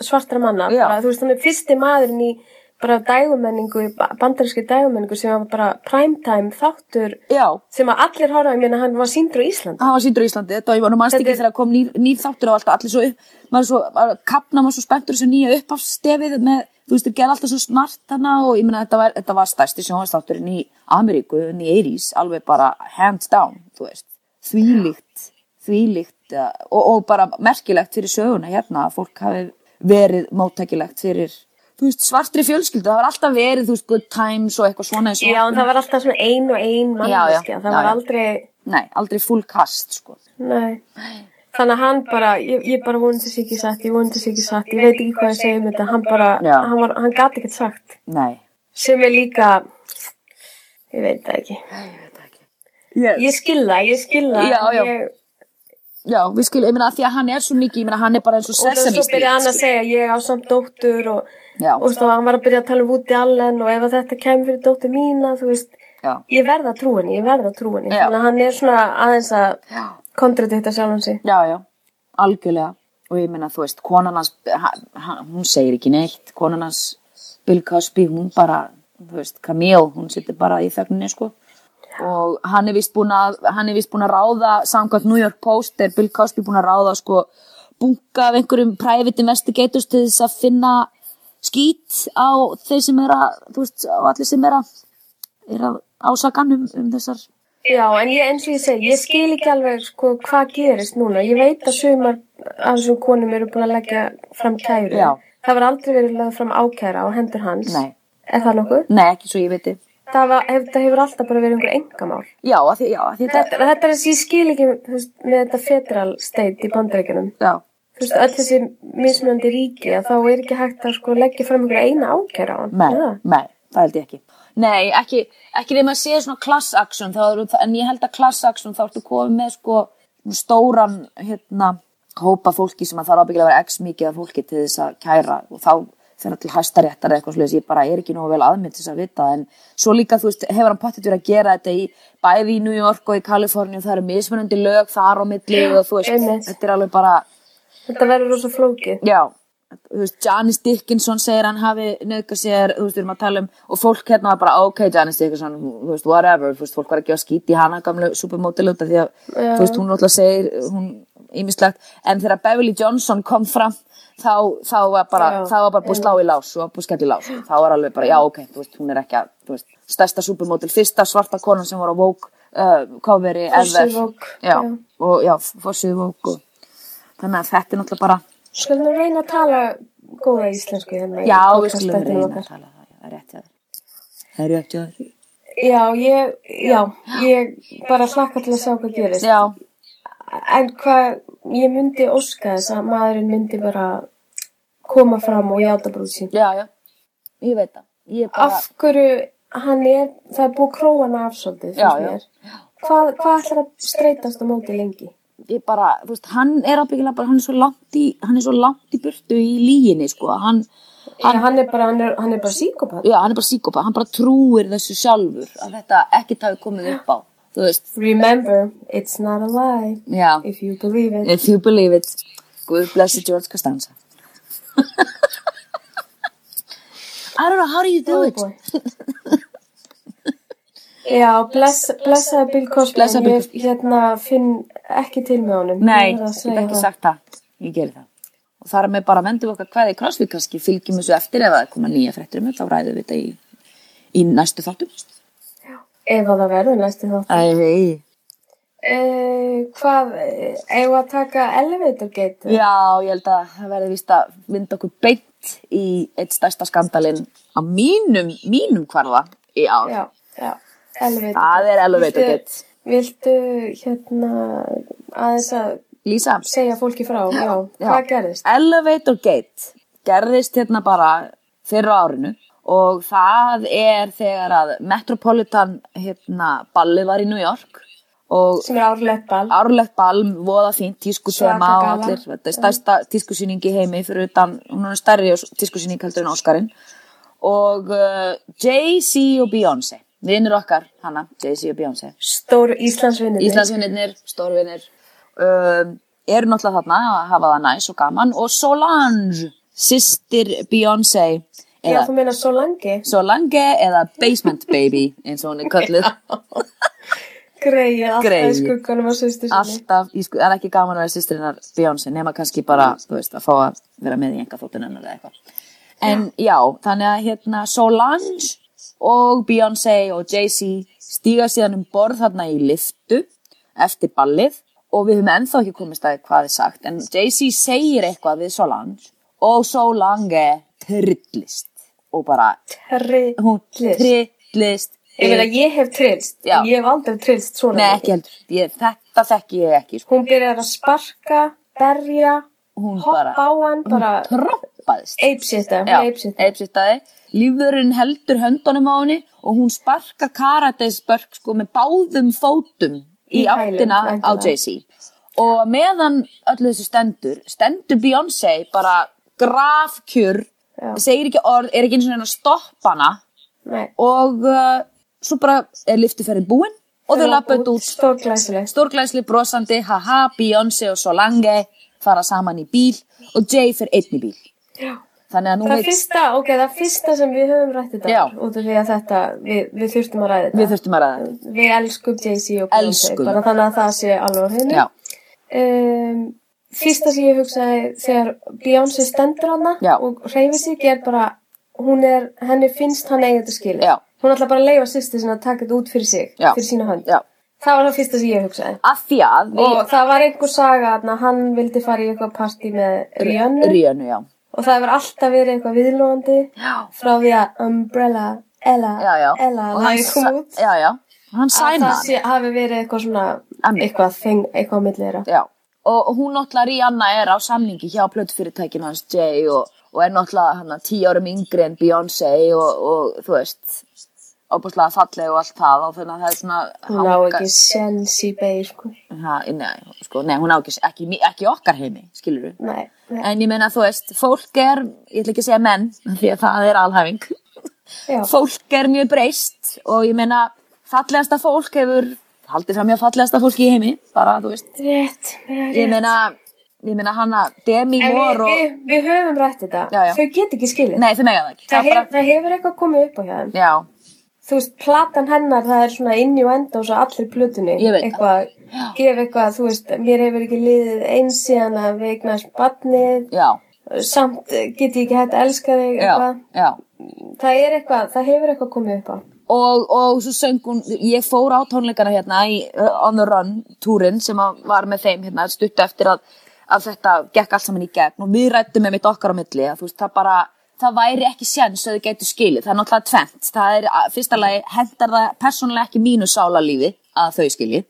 [SPEAKER 3] svartra manna,
[SPEAKER 2] Já.
[SPEAKER 3] bara, þú veist, hann er fyrsti maðurinn í bara dægumenningu, bandarinski dægumenningu sem var bara primetime þáttur
[SPEAKER 2] Já,
[SPEAKER 3] sem að allir horfaði meina hann var síndur á Ísland.
[SPEAKER 2] hann var síndur á Íslandi, þetta var ég var nú mannst
[SPEAKER 3] Þetta
[SPEAKER 2] ekki
[SPEAKER 3] er-
[SPEAKER 2] þegar kom nýr, nýr þáttur og alltaf allir svo upp, maður svo, maður kapna maður svo spenntur þessu nýja uppafstefið með, þú veist, þeir gera alltaf svo smart hana og ég meina þetta var, þetta var stærsti sjónastátturinn í Ameríku, í Eirís, alveg bara hands down, þú veist, þvílíkt, þvílíkt uh, og, og bara merkilegt fyrir söguna hérna að fólk hafi verið móttækilegt fyrir, þú veist, svartri fjölskyldu, það var alltaf verið, þú veist, good times og eitthvað svona eins og
[SPEAKER 3] Já, en það var alltaf svona ein og ein manneskja, það
[SPEAKER 2] já,
[SPEAKER 3] var
[SPEAKER 2] já.
[SPEAKER 3] aldrei...
[SPEAKER 2] Nei, aldrei full cast, sko.
[SPEAKER 3] Nei. Þannig að hann bara, ég, ég bara vonið þessi ekki satt, ég vonið þessi ekki satt, ég veit ekki hvað ég segi um þetta, hann bara,
[SPEAKER 2] Já.
[SPEAKER 3] hann, var, hann gat ekkert sagt.
[SPEAKER 2] Nei.
[SPEAKER 3] Sem er líka, ég veit það ekki.
[SPEAKER 2] Yes.
[SPEAKER 3] Ég skilða, ég skilða.
[SPEAKER 2] Já, já.
[SPEAKER 3] Ég,
[SPEAKER 2] Já, við skilum, ég meina að því að hann er svo mikið, ég meina hann er bara eins og
[SPEAKER 3] og það
[SPEAKER 2] sesame
[SPEAKER 3] svo byrjaði hann að
[SPEAKER 2] street.
[SPEAKER 3] segja, ég á samt dóttur og,
[SPEAKER 2] sko. Já.
[SPEAKER 3] og svo hann var að byrja að tala um út í allen og ef að þetta kemur fyrir dóttur mína, þú veist,
[SPEAKER 2] Já.
[SPEAKER 3] ég verða að trú henni, ég verða að trú henni.
[SPEAKER 2] Já.
[SPEAKER 3] Þannig að hann er svona aðeins að
[SPEAKER 2] Já.
[SPEAKER 3] kontradikta sjálfan sig.
[SPEAKER 2] Já, já, algjörlega. Og ég meina, þú veist, konan hans, ha- ha- hún segir ekki neitt, konan hans, Bill Cosby, hún bara, þú veist, Camille, hún situr bara í þögninni, sko. Og hann er vist búin að, hann er vist búin að ráða, samkvæmt New York Post, er Bill Cosby búin að ráða, sko, bunga af einhverjum private investigators til þess að finna skýt á þeir sem er að, þú veist, á allir sem er að, er að ásakan um, um þessar,
[SPEAKER 3] Já, en ég, eins og ég segi, ég skil ekki alveg sko, hvað gerist núna. Ég veit að sumar af þessum konum eru búin að leggja fram kæru.
[SPEAKER 2] Já.
[SPEAKER 3] Það var aldrei verið lögð fram ákæra á hendur hans.
[SPEAKER 2] Nei.
[SPEAKER 3] Er það nokkuð?
[SPEAKER 2] nei, ekki svo ég veitir.
[SPEAKER 3] Það, var, hef, það hefur alltaf bara verið einhver engamál.
[SPEAKER 2] Já, að því, já, að því
[SPEAKER 3] Þetta, þetta er þess að ég skil ekki þú veist, með þetta federal state í bandaríkjunum.
[SPEAKER 2] já.
[SPEAKER 3] Þú veist, öll þessi mismunandi ríki að þá er ekki hægt að sko, leggja fram einhver eina ákæra á hann.
[SPEAKER 2] Nei,
[SPEAKER 3] Er það?
[SPEAKER 2] nei, það held ég ekki. Nei, ekki, ekki þegar maður séð svona class action, þá eru, en ég held að class action þá ertu komið með sko stóran hérna, hópa fólki sem að það er ábyggilega að vera x mikið af fólki til þess að kæra og þá fer það til hæstaréttar eða eitthvað slúðis, ég bara er ekki nógu vel aðmynd til þess að vita en svo líka, þú veist, hefur hann pottet verið að gera þetta í bæði í New York og í Kaliforníu, það eru mismunandi lög þar á milli og þú
[SPEAKER 3] einmitt.
[SPEAKER 2] veist, þetta er alveg bara
[SPEAKER 3] Þetta verður rosa flókið.
[SPEAKER 2] Já, þú veist, Janis Dickinson segir hann hafi nöðgað sér, þú veist, við erum að tala um og fólk hérna var bara, ok, Janis Dickinson þú veist, whatever, þú veist, fólk var ekki að skýti hana gamlu supermodelöta því að, þú veist, hún náttúrulega segir, hún ímislegt en þegar Beverly Johnson kom fram þá, þá var bara,
[SPEAKER 3] Já,
[SPEAKER 2] þá var bara búið að slá í lás og búið að skella í lás, þá var alveg bara, já, ok, þú veist, hún er ekki að, þú veist, stærsta supermodel, fyrsta svarta konan sem var á Vogue uh, coveri
[SPEAKER 3] Forsíðu
[SPEAKER 2] ever.
[SPEAKER 3] Vogue,
[SPEAKER 2] já,
[SPEAKER 3] já.
[SPEAKER 2] og já, fórsöðu Vogue og- þannig að þetta er náttúrulega bara
[SPEAKER 3] Skulum við reyna að tala góða íslensku hérna. í
[SPEAKER 2] Já, við
[SPEAKER 3] podcastættinum
[SPEAKER 2] skulum reyna
[SPEAKER 3] okkar.
[SPEAKER 2] að tala það, já, það er rétt hjá þér. Það er rétt hjá þér.
[SPEAKER 3] Já, ég, já, ég bara hlakka til að sjá hvað gerist.
[SPEAKER 2] Já,
[SPEAKER 3] En hvað, ég myndi óska þess að maðurinn myndi bara koma fram og játa brúð sín.
[SPEAKER 2] já, já, ég veit það. Ég bara,
[SPEAKER 3] Af hverju hann er, það er búið króana af svolítið,
[SPEAKER 2] Já, já.
[SPEAKER 3] finnst mér. Hvað, hvað ætlar að streytast á móti lengi?
[SPEAKER 2] ég bara, þú veist, hann er ábyggilega bara, hann er svo langt í, hann er svo langt í burtu í líginni, sko, að hann,
[SPEAKER 3] Hann, hann er bara, hann er, hann er bara síkopat.
[SPEAKER 2] já, hann er bara síkopa, hann bara trúir þessu sjálfur að þetta ekkert hafi komið upp á, þú veist,
[SPEAKER 3] Remember, it's not a lie,
[SPEAKER 2] já,
[SPEAKER 3] if you believe it.
[SPEAKER 2] if you believe it, God bless you, George Costanza. I don't know, how do you do
[SPEAKER 3] Oh,
[SPEAKER 2] it?
[SPEAKER 3] boy. Já, bless, blessaði Bill Cosby
[SPEAKER 2] Blessaði
[SPEAKER 3] en
[SPEAKER 2] Bill
[SPEAKER 3] ég hérna finn ekki til með honum
[SPEAKER 2] Nei, ég
[SPEAKER 3] Ég verð að
[SPEAKER 2] hef
[SPEAKER 3] segja
[SPEAKER 2] ekki
[SPEAKER 3] það.
[SPEAKER 2] sagt það. Ég geri það. Og þar með bara vendum við okkar hvaði krossvík kannski, fylgjum þessu eftir ef það koma nýja fréttur um þetta og ræðum við þetta í, í næstu þáttum.
[SPEAKER 3] Ef að það verður næstu þá
[SPEAKER 2] Æ, hei.
[SPEAKER 3] uh, Hvað, eh, eigum við að taka elevator gate?
[SPEAKER 2] Já, ég held að það verði vist að vinda okkur beint í eitt stærsta skandalinn á mínum, mínum kvarða í ár.
[SPEAKER 3] já, já, elevator
[SPEAKER 2] Það er elevator
[SPEAKER 3] Viltu-
[SPEAKER 2] gate.
[SPEAKER 3] Viltu hérna aðeins að
[SPEAKER 2] Lísa,
[SPEAKER 3] segja fólki frá? Já, hvað gerðist?
[SPEAKER 2] Elevator Gate gerðist hérna bara fyrra árinu og það er þegar að Metropolitan hérna, ballið var í New York og
[SPEAKER 3] Sem er árlegt ball
[SPEAKER 2] árlegt ball, voða fínt tískusema
[SPEAKER 3] Svaka
[SPEAKER 2] og
[SPEAKER 3] gala.
[SPEAKER 2] allir, þetta er stærsta tískusýning í heimi fyrir utan, hún er stærri tískusýning heldur en Óskarinn og uh, Jay-Z og Beyoncé vinnur okkar, hana, Jay-Z og Beyoncé
[SPEAKER 3] Stór Íslandsvinni.
[SPEAKER 2] Íslandsvinnirnir, stórvinnir um, eru náttúrulega þarna að hafa það næs og gaman og Solange, systir Beyoncé
[SPEAKER 3] Já,
[SPEAKER 2] eða
[SPEAKER 3] þú meina svo langi.
[SPEAKER 2] Solange eða Basement Baby eins og hún er kölluð
[SPEAKER 3] Greið, alltaf
[SPEAKER 2] Greyið.
[SPEAKER 3] í skugganum á sýstu sinni.
[SPEAKER 2] alltaf, í sku- það er ekki gaman að vera systrinnar Beyoncé nema kannski bara,
[SPEAKER 3] Mm.
[SPEAKER 2] þú veist, að fá að vera með í enga þóttunum eða eitthvað en já, þannig að hérna Solange og Beyoncé og Jay-Z stíga síðan um borð þarna í liftu eftir ballið og við höfum ennþá ekki komist að hvað er sagt en Jay-Z segir eitthvað við Solange og Solange trillist og bara,
[SPEAKER 3] Herri,
[SPEAKER 2] hún
[SPEAKER 3] Trillist.
[SPEAKER 2] trillist
[SPEAKER 3] ég meina, ég hef trillst.
[SPEAKER 2] Já.
[SPEAKER 3] Ég hef aldrei trillst svona.
[SPEAKER 2] Nei, ekki heldur, ég, þetta þekki ég ekki sko.
[SPEAKER 3] Hún byrjar að sparka, berja,
[SPEAKER 2] Hún
[SPEAKER 3] hoppa
[SPEAKER 2] bara-
[SPEAKER 3] á hann, bara
[SPEAKER 2] troppaðist
[SPEAKER 3] eipsitta.
[SPEAKER 2] Já,
[SPEAKER 3] Eipsitta.
[SPEAKER 2] eipsittaði. Lífurinn heldur höndunum á henni og hún sparkar karatesbörk sko með báðum fótum í,
[SPEAKER 3] Í hælinn,
[SPEAKER 2] áttina á
[SPEAKER 3] væntanlega.
[SPEAKER 2] Jay-Z. Og meðan öllu þessu stendur, stendur Beyoncé bara grafkjur,
[SPEAKER 3] Já.
[SPEAKER 2] segir ekki orð, er ekki eins og neina að stoppa hana
[SPEAKER 3] Nei.
[SPEAKER 2] og uh, svo bara er liftuferðin búin og þau lappa þetta út
[SPEAKER 3] Stór glæsilegt.
[SPEAKER 2] stórglæsli brosandi, haha, Beyoncé og Solange fara saman í bíl og Jay fer einn í bíl.
[SPEAKER 3] Já.
[SPEAKER 2] Þannig að nú
[SPEAKER 3] Það fyrsta, ok, það fyrsta sem við höfum rætt þetta
[SPEAKER 2] Já.
[SPEAKER 3] út af því að þetta, við, við þurftum að ræða þetta.
[SPEAKER 2] við þurftum að ræða þetta.
[SPEAKER 3] Við elskum Jay-Z og Beyoncé,
[SPEAKER 2] Elskum.
[SPEAKER 3] bara þannig að það sé alveg á hreinu.
[SPEAKER 2] Já,
[SPEAKER 3] Um, fyrsta sem ég hugsaði þegar Beyoncé stendur hana
[SPEAKER 2] Já.
[SPEAKER 3] og hreyfir sig er bara, hún er, henni finnst hann eigið þetta skilið.
[SPEAKER 2] Já.
[SPEAKER 3] Hún ætla bara að leifa sýstir sinna að taka þetta út fyrir sig,
[SPEAKER 2] Já.
[SPEAKER 3] fyrir sína hönd.
[SPEAKER 2] já.
[SPEAKER 3] Það var það fyrsta sem ég hugsaði.
[SPEAKER 2] Af því að
[SPEAKER 3] Og
[SPEAKER 2] við
[SPEAKER 3] það var einhver saga að hann vildi fara í eitthvað partí með Rihanna
[SPEAKER 2] Ríönu, já.
[SPEAKER 3] og það hefur alltaf verið eitthvað viðlóðandi frá því að Umbrella, Ella,
[SPEAKER 2] Já, já.
[SPEAKER 3] Ella,
[SPEAKER 2] Og
[SPEAKER 3] lagið kom
[SPEAKER 2] sa-
[SPEAKER 3] út.
[SPEAKER 2] Já, já. Hann
[SPEAKER 3] að
[SPEAKER 2] sæna
[SPEAKER 3] það
[SPEAKER 2] hann.
[SPEAKER 3] sé, hafi verið eitthvað svona
[SPEAKER 2] Emmi.
[SPEAKER 3] eitthvað þing, eitthvað á milli þeirra
[SPEAKER 2] Já. Og og hún náttúrulega Rihanna er á samningi hjá plötufyrirtækinu hans Jay og, og er náttúrulega hann tíu árum yngri en Beyoncé og, og þú veist, opaslega falleg og allt það og þannig að það er svona...
[SPEAKER 3] hún á
[SPEAKER 2] hanga-
[SPEAKER 3] ekki sens í beig sko.
[SPEAKER 2] Ha, nei, sko, nei, hún á ekki, ekki, ekki okkar heimi, skilur við.
[SPEAKER 3] nei, nei.
[SPEAKER 2] En ég meina, þú veist, fólk er, ég ætla ekki að segja menn, af því að það er alhæfing.
[SPEAKER 3] Já,
[SPEAKER 2] Fólk er mjög breyst og ég meina, fallegasta fólk hefur, haldið fram mjög fallegasta fólki í heimi, bara, þú veist.
[SPEAKER 3] rétt já,
[SPEAKER 2] Ég
[SPEAKER 3] rétt.
[SPEAKER 2] meina, ég meina hana, Demi
[SPEAKER 3] en við,
[SPEAKER 2] Moore og,
[SPEAKER 3] við, við höfum rætt þetta
[SPEAKER 2] Já, já.
[SPEAKER 3] þau get ekki skilið
[SPEAKER 2] nei, þau mega það ekki.
[SPEAKER 3] það,
[SPEAKER 2] er
[SPEAKER 3] hérna- hef, það hefur eitthvað komið upp á hjá þeim
[SPEAKER 2] já,
[SPEAKER 3] þú veist, platan hennar, það er svona inn í og enda og svo allir plötunni
[SPEAKER 2] Ég veit það.
[SPEAKER 3] eitthvað, gef eitthvað, þú veist mér hefur ekki liðið eins síðan að við eignast barnið,
[SPEAKER 2] já,
[SPEAKER 3] samt eh, get ég ekki hægt að elska þig
[SPEAKER 2] já,
[SPEAKER 3] eitthvað,
[SPEAKER 2] já.
[SPEAKER 3] það er eitthvað það hefur eitthvað komið upp á
[SPEAKER 2] og, og svo söng hún, ég fór á tónleikana hérna í uh, On The Run túrin sem að var með þeim hérna stutt eftir að, að þetta gekk allt saman í gegn og við rættum með mitt okkar á milli að, þú veist, það bara, það væri ekki séns að þau getur skilið, það er náttúrulega tvent það er, að- fyrsta lagi, hendar það persónulega ekki mínu sálarlífi að þau skilið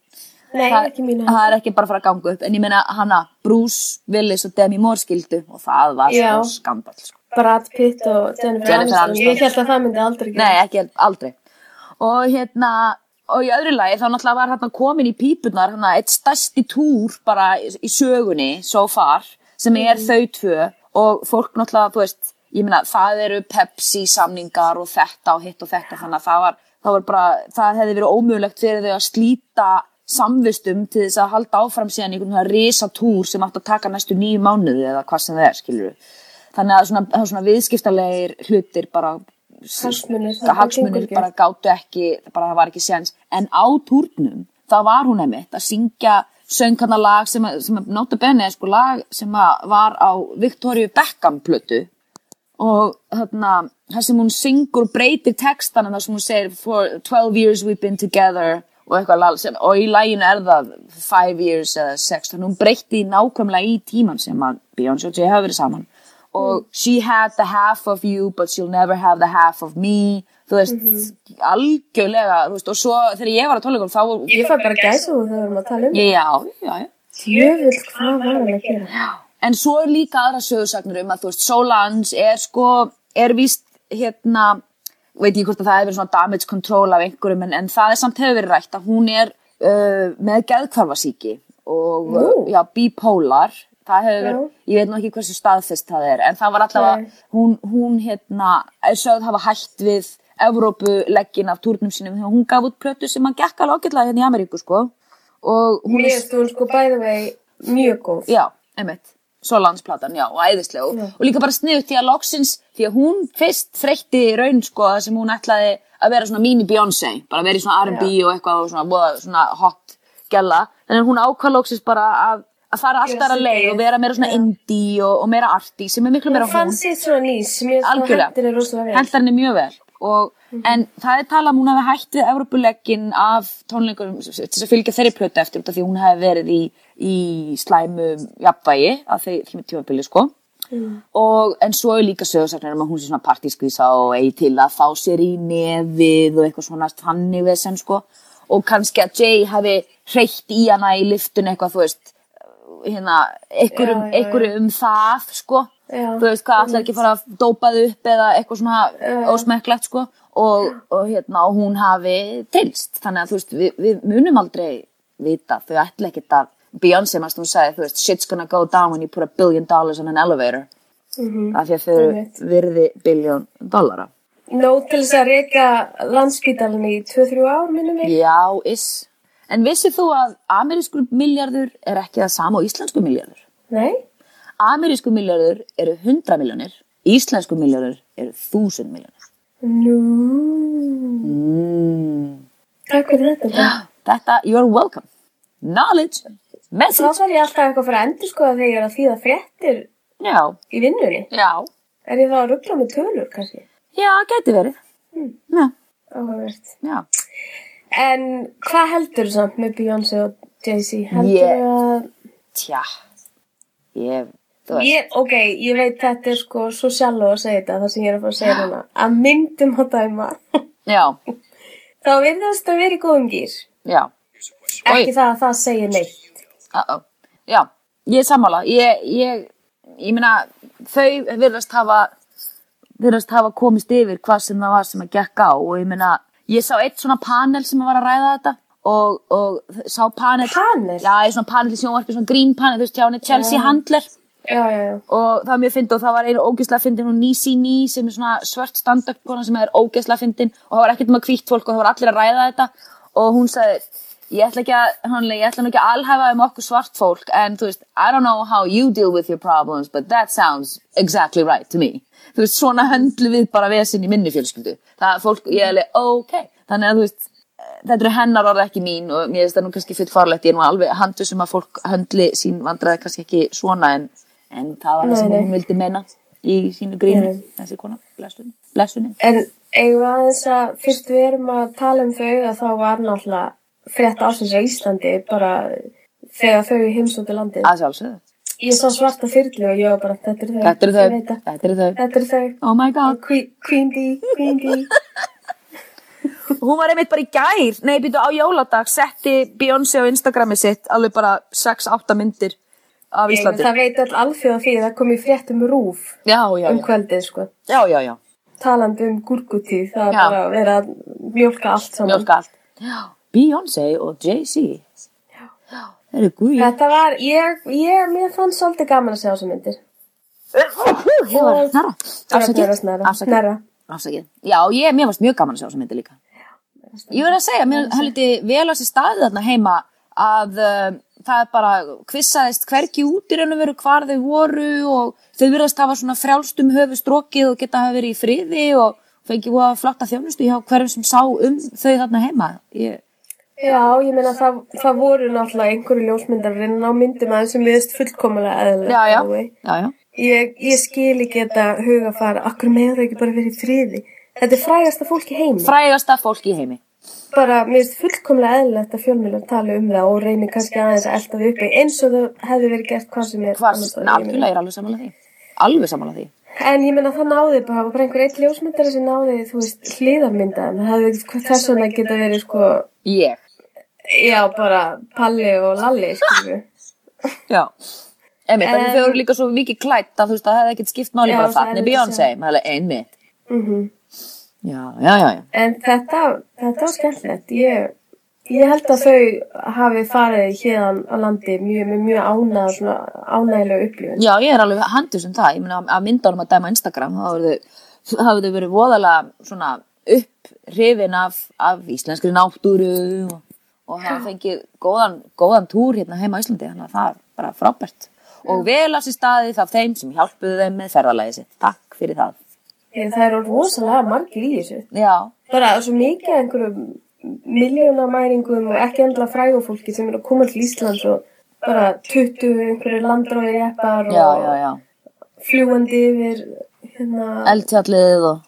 [SPEAKER 3] nei,
[SPEAKER 2] það,
[SPEAKER 3] ekki mínu
[SPEAKER 2] það er ekki bara að fara að ganga upp en ég meina hana, Bruce Willis og Demi Moore skildu og það var
[SPEAKER 3] Já.
[SPEAKER 2] sko skandal sko.
[SPEAKER 3] Brad Pitt og Jennifer,
[SPEAKER 2] Jennifer
[SPEAKER 3] Aniston.
[SPEAKER 2] Aniston.
[SPEAKER 3] Ég held að það myndi aldrei gera.
[SPEAKER 2] Nei, ekki aldrei. Og hérna, og í öðru lagi þá náttúrulega var hérna komin í pípunar, hérna, eitt stærsti túr bara í í sögunni, so far, sem er þau tvö og fólk náttúrulega, þú veist, ég meina, það eru Pepsi samningar og þetta og hitt og þetta, þannig að það var, það var bara, það hefði verið ómögulegt fyrir þau að slíta samvistum til þess að halda áfram síðan einhvern veginn risatúr sem átt að taka næstu nýju mánuði eða hvað sem það er, skilur Þannig að svona, það er svona viðskiptalegir hlutir bara
[SPEAKER 3] Hagsmunir, það
[SPEAKER 2] það hagsmunir
[SPEAKER 3] gengur ekki.
[SPEAKER 2] bara gátu ekki, bara það var ekki séns. En á turnum, þá var hún einmitt að syngja söngkarna lag sem, að- sem nota benni, sko, lag sem að var á Victoria Beckham plötu og þarna, það sem hún syngur breytir textan en það sem hún segir for 12 years we've been together og eitthvað lal sem, og í læginu er það 5 years eða 6 þannig hún breytti nákvæmlega í tíman sem að Beyoncé og Jay hafa verið saman og she had the half of you but she'll never have the half of me þú veist, algjörlega þú veist, og svo þegar ég var að tónleikum þá
[SPEAKER 3] Ég fæ bara gæsa úr þegar við erum að tala um.
[SPEAKER 2] ég, já, já, já
[SPEAKER 3] Jöfull, hvað var hann að gera?
[SPEAKER 2] En svo er líka aðra sögursagnir um að þú veist, Solange er sko, er víst hérna, veit ég hvort að það hefur verið svona damage control af einhverjum en, en það er samt hefur verið rætt að hún er uh, með geðkvarfasíki og,
[SPEAKER 3] Nú.
[SPEAKER 2] já, bipolar það hefur verið, ég veit nú ekki hversu staðfest það er, en það var alltaf að
[SPEAKER 3] Nei.
[SPEAKER 2] hún, hún hérna, er sögð hafa hætt við Evrópuleggin af túrnum sínum þegar hún gaf út plötu sem hann gekk alveg ágætlega hérna í Ameríku sko og hún
[SPEAKER 3] Mér finnst hún sko bæði vegi mjög góð.
[SPEAKER 2] Já, einmitt, svo landsplatan, já, og æðislega og, og líka bara sniðut því að loksins því að hún fyrst þreytti í raun sko það sem hún ætlaði að vera svona mini Beyoncé, bara vera í svona R&B og eitthvað og svona, voða svona hot gella þannig að hún ákvað loksins bara að, að fara
[SPEAKER 3] Gera
[SPEAKER 2] alltaf að
[SPEAKER 3] sitt
[SPEAKER 2] leið og
[SPEAKER 3] eigið.
[SPEAKER 2] vera meira svona indie og, og meira arty sem er miklu meira
[SPEAKER 3] Hún fann
[SPEAKER 2] hún
[SPEAKER 3] sér svona nýs, mér finnst hún
[SPEAKER 2] algjörlega,
[SPEAKER 3] hendur er rosalega vel. Mhm.
[SPEAKER 2] hendur henni mjög vel og, en það er talað um hún hafi hætt við Evrópuleggin af tónleikum til þess að fylgja þeirri plötu eftir út af því hún hafi verið í, í slæmum jafnvægi að þeir kemur tímabili sko
[SPEAKER 3] Mhm.
[SPEAKER 2] og, en svo er líka sögursaknar um að hún sé svona partískvísa og eigi til að fá sér í nefið og eitthvað svona þannig við sem sko og kannski að Jay hafi hreitt í hana í liftun eitthvað þú veist hérna, einhverjum,
[SPEAKER 3] Já, já, já.
[SPEAKER 2] einhverju um það sko,
[SPEAKER 3] Já.
[SPEAKER 2] þú veist hvað allar ekki að fara að dópa þau upp eða eitthvað svona ósmekklegt sko og, og hérna og hún hafi tilst þannig að þú veist við, við munum aldrei vita þau ætla ekkert að Beyoncé mannst hún sagði þú veist shit's gonna go down when you put a billion dollars on an elevator af því að þau eru
[SPEAKER 3] Mhm. Einmitt.
[SPEAKER 2] virði biljón dollara
[SPEAKER 3] Nó til þess að reyka landspítalinn í 2-3 ár, minnum ég.
[SPEAKER 2] já is en vissið þú að amerískur miljardur er ekki það sama og íslenskur miljardur
[SPEAKER 3] Nei?
[SPEAKER 2] amerísku miljardur eru 100 miljónir, íslensku miljardur eru 1000 miljónir.
[SPEAKER 3] Nú.
[SPEAKER 2] Mm.
[SPEAKER 3] Takk fyrir þetta. Já.
[SPEAKER 2] Þetta, you're welcome. Knowledge,
[SPEAKER 3] Þá
[SPEAKER 2] message.
[SPEAKER 3] þarf ég alltaf eitthvað að fara að endurskoða þegar ég er að þýða fréttir
[SPEAKER 2] Já,
[SPEAKER 3] í vinnunni.
[SPEAKER 2] já,
[SPEAKER 3] Er ég þá að ruggla með tölur, kannski?
[SPEAKER 2] já, geti verið. Já,
[SPEAKER 3] Áhugavert.
[SPEAKER 2] já.
[SPEAKER 3] En hvað heldur samt með Beyoncé og Jay-Z? Heldur
[SPEAKER 2] Ég-
[SPEAKER 3] að...
[SPEAKER 2] Tja, ég, þú veist,
[SPEAKER 3] Ég, ok, ég veit þetta er sko svo sjálf að segja þetta, það sem ég er að fara að segja núna. Að myndum að dæma.
[SPEAKER 2] já,
[SPEAKER 3] þá virðast að vera í góðum gýr.
[SPEAKER 2] já,
[SPEAKER 3] Ekki
[SPEAKER 2] Oj.
[SPEAKER 3] það að það segja neitt.
[SPEAKER 2] uh-oh, já, ég er sammála, ég, ég, ég meina, þau virðast hafa, virðast hafa komist yfir hvað sem það var sem að gekk á og ég meina, ég sá eitt svona panel sem var að ræða þetta og, og sá panel.
[SPEAKER 3] Panel?
[SPEAKER 2] Já, ég er svona panel í sjónvarpi, svona grín panel, þú veist, hjá henni Chelsea Handler.
[SPEAKER 3] Já, já, já.
[SPEAKER 2] og það var mjög fyndið og það var einu ógeðslega fyndin hún Nisi Ní sem er svona svört standögt kona sem er ógeðslega fyndin og það var ekkert um að kvítt fólk og það var allir að ræða þetta og hún sagði ég ætla ekki að, honlega, ég ætla nú ekki að alhæfa um okkur svart fólk en þú veist I don't know how you deal with your problems but that sounds exactly right to me þú veist svona höndlu við bara vesinn í minni fjölskyldu það fólk, ég er alveg ok þannig að þú veist þetta eru hennar orð ekki mín og mér finnst það nú kannski fyrir farlegt ég er nú alveg handus um að fólk höndli sín vandræði kannski ekki svona en, en það var það
[SPEAKER 3] Nei,
[SPEAKER 2] sem
[SPEAKER 3] nei.
[SPEAKER 2] hún vildi menna í sínu grínu
[SPEAKER 3] Nei.
[SPEAKER 2] þessi kona, blessunni, blessunni.
[SPEAKER 3] En eigum við aðeins að fyrst við erum að tala um þau að þá var náttúrulega frétt ásins á Íslandi bara þegar þau heimsóttu landið.
[SPEAKER 2] að sjálfsögðu,
[SPEAKER 3] Ég sá svarta þyrlu og ég var bara, þetta eru þau.
[SPEAKER 2] þetta
[SPEAKER 3] Ég
[SPEAKER 2] eru
[SPEAKER 3] veit
[SPEAKER 2] þau
[SPEAKER 3] það.
[SPEAKER 2] þetta eru þau,
[SPEAKER 3] Þetta eru þau.
[SPEAKER 2] oh my god
[SPEAKER 3] Queen- Queen D, Queen D.
[SPEAKER 2] hún var einmitt bara í gær, nei býtu á jóladag setti Beyoncé á Instagrami sitt alveg bara 6-8 myndir af
[SPEAKER 3] Ég-
[SPEAKER 2] Íslandi,
[SPEAKER 3] Það veit all alþjóða því það kom í fréttum rúf
[SPEAKER 2] já já
[SPEAKER 3] um
[SPEAKER 2] já,
[SPEAKER 3] kvöldið, sko.
[SPEAKER 2] já já já
[SPEAKER 3] Talandi um gúrkutíð, það
[SPEAKER 2] Já.
[SPEAKER 3] var bara að vera að mjölka allt saman.
[SPEAKER 2] mjölk allt, já, Beyoncé og Jay-Z það eru guði
[SPEAKER 3] Þetta var, ég, ég, mér fannst svolítið gaman að sjá þessu myndir.
[SPEAKER 2] Ég var að snarra. Afsakið.
[SPEAKER 3] Afsakið.
[SPEAKER 2] Afsakið.
[SPEAKER 3] Snarra.
[SPEAKER 2] Afsakið. Já, ég, mér varst mjög gaman að sjá þessa myndi líka. Ég verði að segja, mér höldi vel á sér staðið þarna heima að um, það er bara kvissaðist hvergi út í raun og veru hvar þau voru og þau virðast hafa svona frjálstum höfu strokið og geta hafa verið í friði og fengið að flotta þjónustu hjá hverjum sem sá um þau þarna heima. Ég,
[SPEAKER 3] Já, ég meina það, það voru náttúrulega einhverju ljósmyndarinn á myndum aðeins sem viðist fullkomlega
[SPEAKER 2] já,
[SPEAKER 3] eðlilega.
[SPEAKER 2] já, já, já.
[SPEAKER 3] Ég, ég skil ekki þetta hugafar, akkur meður það ekki bara verið í friði. Þetta er frægasta fólk í heimi.
[SPEAKER 2] Frægasta fólk í heimi.
[SPEAKER 3] bara, mér finnst fullkomlega eðlilegt að fjölmjölar tala um það og reynir kannski aðeins að elda þau uppi eins og það hefði verið gert hvað sem er.
[SPEAKER 2] Hvar,
[SPEAKER 3] annars staðar, ég meina.
[SPEAKER 2] algjörlega ég er alveg sammála því. Alveg sammála því.
[SPEAKER 3] En ég meina það náði bara, það var bara einhver eitt ljósmyndari sem náði, þú veist, hliðarmyndaðan. Það hefði þess vegna geta verið, sko,
[SPEAKER 2] Ég.
[SPEAKER 3] já, bara Palli og Lalli, skilju.
[SPEAKER 2] Já, einmitt, um,
[SPEAKER 3] Em,
[SPEAKER 2] þau eru líka svo mikið klætt að þú veist að það hefði ekkert skipt máli
[SPEAKER 3] Já,
[SPEAKER 2] bara
[SPEAKER 3] það
[SPEAKER 2] þarna er
[SPEAKER 3] er
[SPEAKER 2] Beyoncé,
[SPEAKER 3] líka
[SPEAKER 2] maður er einmitt.
[SPEAKER 3] Mhm.
[SPEAKER 2] Já, já, já, já.
[SPEAKER 3] En þetta, þetta var skemmtilegt. Ég, Ég held að þau hafi farið hérðan á landi mjög, með mjög ánæg, svona ánægilega upplifun.
[SPEAKER 2] Já, ég er alveg handus um það, ég meina að mynda honum að dæma Instagram, þá hefur þau hafa þau verið voðalega svona upprifin af, af íslenskri náttúru og, og hafa fengið góðan, góðan túr hérna heima á Íslandi, þannig að það er bara frábært. Og vel af sér staðið af þeim sem hjálpuðu þeim með ferðalagið sitt. Takk fyrir það.
[SPEAKER 3] Ég, það eru rosalega margir í þessu.
[SPEAKER 2] Já,
[SPEAKER 3] Bara svo mikið af einhverjum miljónamæringum og ekki endla frægum fólki sem eru að koma til Íslands og bara tuttu einhverju landráði jeppar
[SPEAKER 2] já,
[SPEAKER 3] og
[SPEAKER 2] já, já.
[SPEAKER 3] fljúandi yfir hérna,
[SPEAKER 2] Eldfjallið og...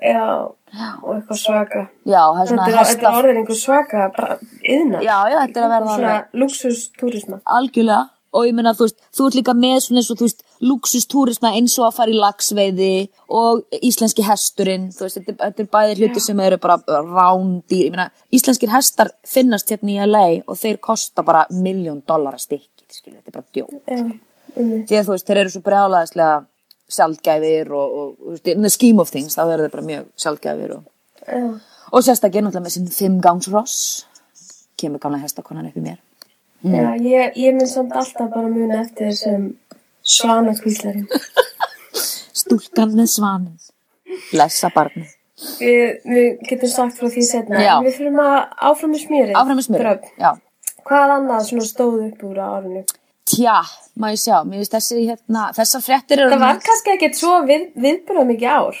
[SPEAKER 3] já, og eitthvað svaka.
[SPEAKER 2] Já, það er
[SPEAKER 3] Þetta
[SPEAKER 2] svona
[SPEAKER 3] er, þetta
[SPEAKER 2] hesta...
[SPEAKER 3] er orðin einhver svaka, bara yðna.
[SPEAKER 2] Já, já, þetta er að verða
[SPEAKER 3] Svona
[SPEAKER 2] alveg.
[SPEAKER 3] luxustúrisma.
[SPEAKER 2] algjörlega og ég meina þú veist, þú ert líka með svona eins og þú veist, luxustúrisma eins og að fara í lagsveiði og íslenski hesturinn, þú veist, þetta, er- þetta er bæðir hluti sem eru bara rándýr, ég meina íslenskir hestar finnast hérna í LA og þeir kosta bara miljón dollara stikkið, skilja, þetta er bara djó
[SPEAKER 3] Já, um,
[SPEAKER 2] því að þú veist, þeir eru svo brjálaðislega sjálfgæfir og, og þú veist, in the scheme of things, þá eru þeir bara mjög sjálfgæfir og,
[SPEAKER 3] já.
[SPEAKER 2] og sérstaklega náttúrulega með sinn fimm gangs ross kemur gamla hestakonan upp í mér Mm.
[SPEAKER 3] já ég, ég mun samt alltaf bara muna eftir þessum svanakvíslarinn.
[SPEAKER 2] Stúlkan með svanin. Blessa barni.
[SPEAKER 3] Við, við getum sagt frá því setna.
[SPEAKER 2] Já.
[SPEAKER 3] Við fyrir maður áfram með smjörið.
[SPEAKER 2] Áfram með smjörið.
[SPEAKER 3] Dröfn.
[SPEAKER 2] Já.
[SPEAKER 3] Hvað annað svona stóð upp úr á árinu?
[SPEAKER 2] Tja, maður sjá, mér finnst þessi hérna, þessar fréttir eru...
[SPEAKER 3] Það var kannski ekkert svo við, viðbúrað mikið ár.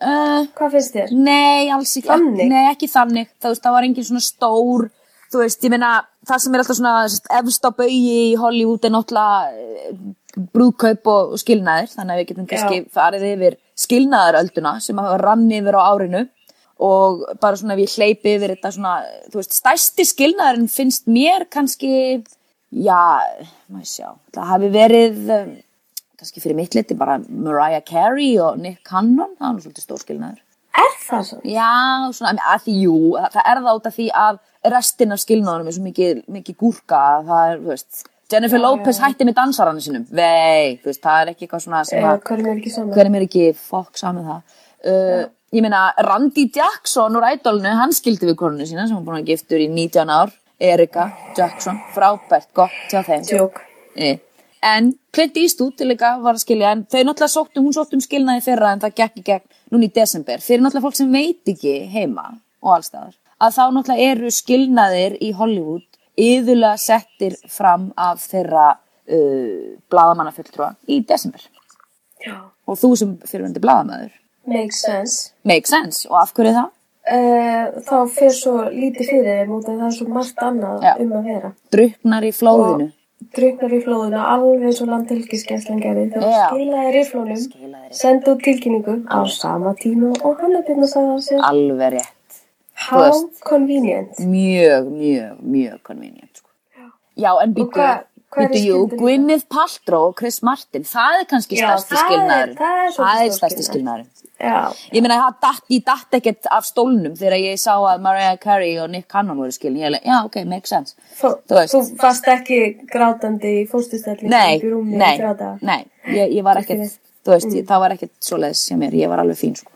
[SPEAKER 2] Uh,
[SPEAKER 3] Hvað finnst þér?
[SPEAKER 2] nei, alls ekki.
[SPEAKER 3] Þannig?
[SPEAKER 2] Nei, ekki þannig. Þú veist, það var engin svona stór, þú veist, ég meina, það sem er alltaf svona sest, efst á baui í Hollywood er náttúrulega eh, brúðkaup og, og skilnaðir, þannig að við getum kannski
[SPEAKER 3] Já.
[SPEAKER 2] farið yfir skilnaðarölduna sem að rann yfir á árinu og bara svona ef ég hleypi yfir þetta svona, þú veist, stærsti skilnaðurinn finnst mér kannski, já, maður sjá, það hafi verið, um, kannski fyrir mitt liti bara Mariah Carey og Nick Cannon, það er nú svolítið stór skilnaður.
[SPEAKER 3] Er það svo?
[SPEAKER 2] Já, svona, að því jú, það er það út af því að restin af skilnaðunum er svo mikið, mikið gúrka, að það er, þú veist, Jennifer Lopez hætti með dansarannu sinum, vei, þú veist, það er ekki eitthvað svona sem
[SPEAKER 3] Eða,
[SPEAKER 2] að,
[SPEAKER 3] hverjum er ekki saman?
[SPEAKER 2] hverjum er ekki fokk saman það. Uh, ég meina, Randy Jackson úr ædolinu, hann skildi við konunu sína sem hún búin að giftur í 19 ár, Erika Jackson, frábært, gott hjá þeim.
[SPEAKER 3] Jók.
[SPEAKER 2] Nei. E, En Clint Eastwood til líka var að skilja en þau náttúrulega sóttum, hún sóttum skilnaði í fyrra en það gekk í gegn núna í desember fyrir náttúrulega fólk sem veit ekki heima og allstæðar að þá náttúrulega eru skilnaðir í Hollywood yðurlega settir fram af þeirra uh, bladamannafulltrúa í desember
[SPEAKER 3] Já.
[SPEAKER 2] og þú sem fyrirvendir bladamæður
[SPEAKER 3] Makes sense.
[SPEAKER 2] make sense og af hverju það?
[SPEAKER 3] Uh, þá fer svo lítið fyrir þeim út af það er svo margt annað
[SPEAKER 2] Já.
[SPEAKER 3] um að vera.
[SPEAKER 2] Druknar í flóðinu
[SPEAKER 3] Druknar í flóðuna alveg eins og landhelgiskeslan gerði. Þá
[SPEAKER 2] Já.
[SPEAKER 3] skilaði rifflónum, sendi út tilkynningu á sama tíma og hann er byrna að sagða sér.
[SPEAKER 2] alveg rétt
[SPEAKER 3] How
[SPEAKER 2] veist.
[SPEAKER 3] convenient.
[SPEAKER 2] mjög, mjög, mjög convenient sko. já, en býtu
[SPEAKER 3] hvað- hvað eru
[SPEAKER 2] býtu, jú,
[SPEAKER 3] skildirnar?
[SPEAKER 2] Gwyneth Paltrow og Chris Martin það er kannski
[SPEAKER 3] Já,
[SPEAKER 2] stærsti
[SPEAKER 3] það er-
[SPEAKER 2] skilnaður
[SPEAKER 3] það er svolítið
[SPEAKER 2] það er
[SPEAKER 3] stór
[SPEAKER 2] stærsti
[SPEAKER 3] skilnaður.
[SPEAKER 2] skilnaður
[SPEAKER 3] Já.
[SPEAKER 2] ég meina, það datt, ég datt ekkert af stólnum þegar ég sá að Mariah Carey og Nick Cannon voru skilin, ég er já, ok, makes sense
[SPEAKER 3] Þú,
[SPEAKER 2] Þú veist.
[SPEAKER 3] þú varst ekki grátandi í fóstustellingu
[SPEAKER 2] nei,
[SPEAKER 3] í rúmi
[SPEAKER 2] nei,
[SPEAKER 3] í þrjá daga.
[SPEAKER 2] nei ég, ég var ekkert, þú veist,
[SPEAKER 3] Mm.
[SPEAKER 2] ég, það var ekkert svoleiðis sem mér, ég var alveg fín sko.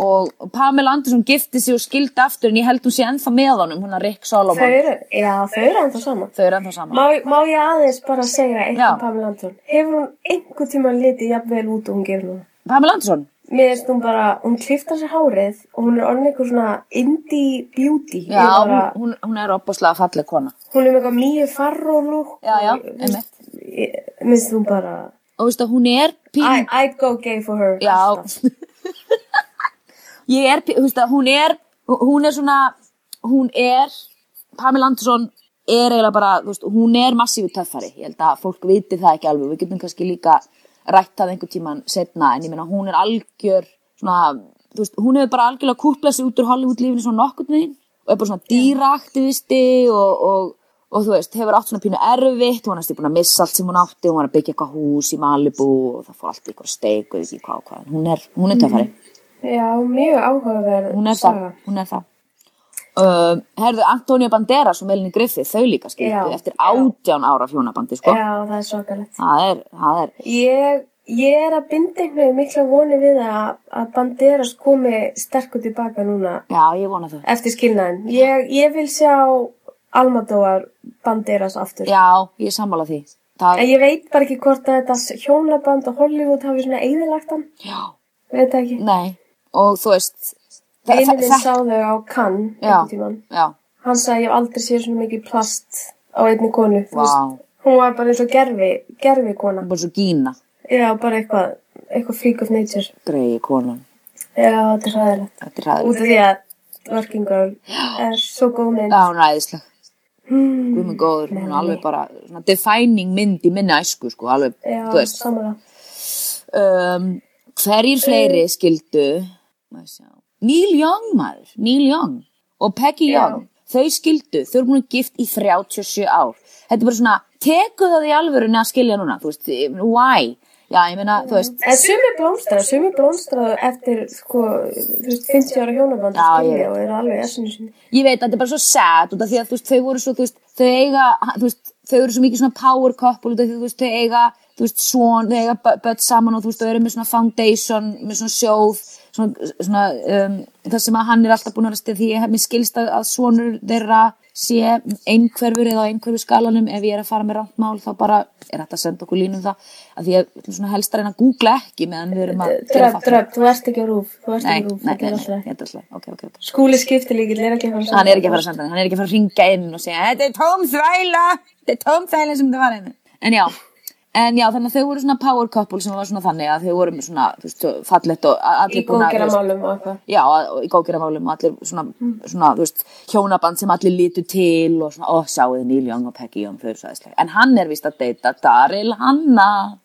[SPEAKER 2] og Pamela Anderson gifti sig og skildi aftur en ég held hún sé ennþá með honum hún að Rick
[SPEAKER 3] Þau
[SPEAKER 2] Solomon,
[SPEAKER 3] eru, já, þau eru ennþá saman.
[SPEAKER 2] þau eru ennþá saman
[SPEAKER 3] Má, má ég aðeins bara segja eitt
[SPEAKER 2] Já.
[SPEAKER 3] um Pamela Anderson? Hefur hún einhver tíma litið jafnvel út og hún gerir núna?
[SPEAKER 2] Pamela Anderson,
[SPEAKER 3] Mér finnst hún bara, hún kliftar sér hárið og hún er orðin einhver svona indie beauty. Ég
[SPEAKER 2] Já,
[SPEAKER 3] bara,
[SPEAKER 2] hún, hún, hún er opaslega falleg kona.
[SPEAKER 3] hún er með eitthvað mjög farrólúk.
[SPEAKER 2] Já, já, einmitt.
[SPEAKER 3] Mér finnst hún bara,
[SPEAKER 2] Og veistu að hún er pín...
[SPEAKER 3] I, I'd go gay for her.
[SPEAKER 2] Já.
[SPEAKER 3] alltaf.
[SPEAKER 2] Ég er, pí- þú veist að hún er, hún er svona, hún er, Pamela Anderson er eiginlega bara, þú veist, hún er massífu töffari. Ég held að fólk viti það ekki alveg. Við getum kannski líka rætt það einhvern tíman setna, en ég meina hún er algjör, svona, þú veist, hún hefur bara algjörlega kúplað sig út úr Hollywood-lífinu svona nokkurn veginn og er bara svona dýraaktivisti og, og, og þú veist, hefur átt svona pínu erfitt, hún er næstum búin að missa allt sem hún átti, hún var að byggja eitthvað hús í Malibu og það fór allt í eitthvað steik og ekki hvað og hvað. Hún er, hún er töffari
[SPEAKER 3] Já, mjög áhugaverð.
[SPEAKER 2] hún er það,
[SPEAKER 3] saga.
[SPEAKER 2] hún er það. Um, herðu, Antonio Banderas og Melanie Griffith, þau líka skildu
[SPEAKER 3] Já,
[SPEAKER 2] eftir
[SPEAKER 3] já.
[SPEAKER 2] átján ára fjónabandi, sko.
[SPEAKER 3] Já, það er svakalegt.
[SPEAKER 2] Það er, það er,
[SPEAKER 3] Ég, ég er að binda einhvern veginn mikla voni við að, að Banderas komi sterkur tilbaka núna
[SPEAKER 2] já, ég vona það.
[SPEAKER 3] eftir skilnaðin. Ég, ég vil sjá Almadóar Banderas aftur.
[SPEAKER 2] Já, ég er sammála því. Það,
[SPEAKER 3] En ég veit bara ekki hvort að þetta hjónaband og Hollywood hafi svona eigðilagt hann.
[SPEAKER 2] já,
[SPEAKER 3] Veit það ekki.
[SPEAKER 2] nei, og þú veist, þa-
[SPEAKER 3] Vinur
[SPEAKER 2] þa-
[SPEAKER 3] minn
[SPEAKER 2] þa-
[SPEAKER 3] sá þau á Cannes
[SPEAKER 2] Já.
[SPEAKER 3] einhvern tímann.
[SPEAKER 2] já,
[SPEAKER 3] Hann sagði ég hef aldrei séð svona mikið plast á einni konu. Þú
[SPEAKER 2] vá,
[SPEAKER 3] veist, Hún var bara eins og gerfi, gerfi kona.
[SPEAKER 2] hún er bara svo gína,
[SPEAKER 3] Já, bara eitthvað, eitthvað freak of nature.
[SPEAKER 2] greiði konan,
[SPEAKER 3] Já, þetta er ræðilegt.
[SPEAKER 2] þetta er ræðilegt.
[SPEAKER 3] Út af því að Working Girl er svo góð mynd.
[SPEAKER 2] Já, hún er ræðisleg,
[SPEAKER 3] Hmm.
[SPEAKER 2] hún er góður, hún er alveg bara svona defining mynd í minni æsku, sko, alveg,
[SPEAKER 3] Já,
[SPEAKER 2] þú veist.
[SPEAKER 3] samanlega.
[SPEAKER 2] Um, hverjir fleiri skildu, maður sjá, Neil Young maður, Neil Young og Peggy
[SPEAKER 3] Já.
[SPEAKER 2] Young, þau skildu, þau eru búin að gift í 37 ár. Þetta er bara svona, tekuð það í alvörunni að skilja núna, þú veist, why? Já, ég meina, þú veist,
[SPEAKER 3] En sumir blómstraðu, sumir blómstraðu eftir, sko, þú veist, 50 ára hjónaband
[SPEAKER 2] Já,
[SPEAKER 3] og
[SPEAKER 2] ég
[SPEAKER 3] skilja og eru alveg í essinu sinni.
[SPEAKER 2] ég veit að þetta er bara svo sad út af því að þú veist, þau voru svo, þú veist, þau eiga þú veist, þau eru svo mikið svona power couple út af því þú veist, þau eiga, þú veist, svon þau eiga bö- börn saman og þú veist, þau eru með svona foundation, með svona sjóð svona, svona um, það sem að hann er alltaf búin að stið því ég hef mér skilst að, að svonur þeirra sé einhverfur eða á einhverfu skalanum ef ég er að fara með rántmál þá bara er þetta að senda okkur línum það að því að við ætlum svona helst að reyna að googla ekki meðan við erum að
[SPEAKER 3] Dröf,
[SPEAKER 2] þátt.
[SPEAKER 3] dröf, þú ert ekki á rúf, þú ert
[SPEAKER 2] Nei,
[SPEAKER 3] ekki á rúf,
[SPEAKER 2] nei,
[SPEAKER 3] þetta
[SPEAKER 2] nei,
[SPEAKER 3] er
[SPEAKER 2] nei,
[SPEAKER 3] alltaf.
[SPEAKER 2] nei, þetta er alltaf, ok, ok, ok
[SPEAKER 3] Skúli skiptilíkil er ekki að fara saman.
[SPEAKER 2] hann er ekki að fara að senda það, hann er ekki að fara að ringa inn og segja, þetta er tóm þvæla þetta er tóm þvæla sem það var einu en já, en já, þannig að þau voru svona power couple sem var svona þannig að þau voru með svona, þú veist, fallett og a-
[SPEAKER 3] Í
[SPEAKER 2] allir búin að-
[SPEAKER 3] góðgera málum og eitthvað.
[SPEAKER 2] já, og í góðgerðamálum og allir svona, svona, þú veist, hjónaband sem allir lítu til og svona, ó, sjáuði Neil Young og Peggy Young, þau eru svo aðeinslega en hann er vist að deyta Daryl Hanna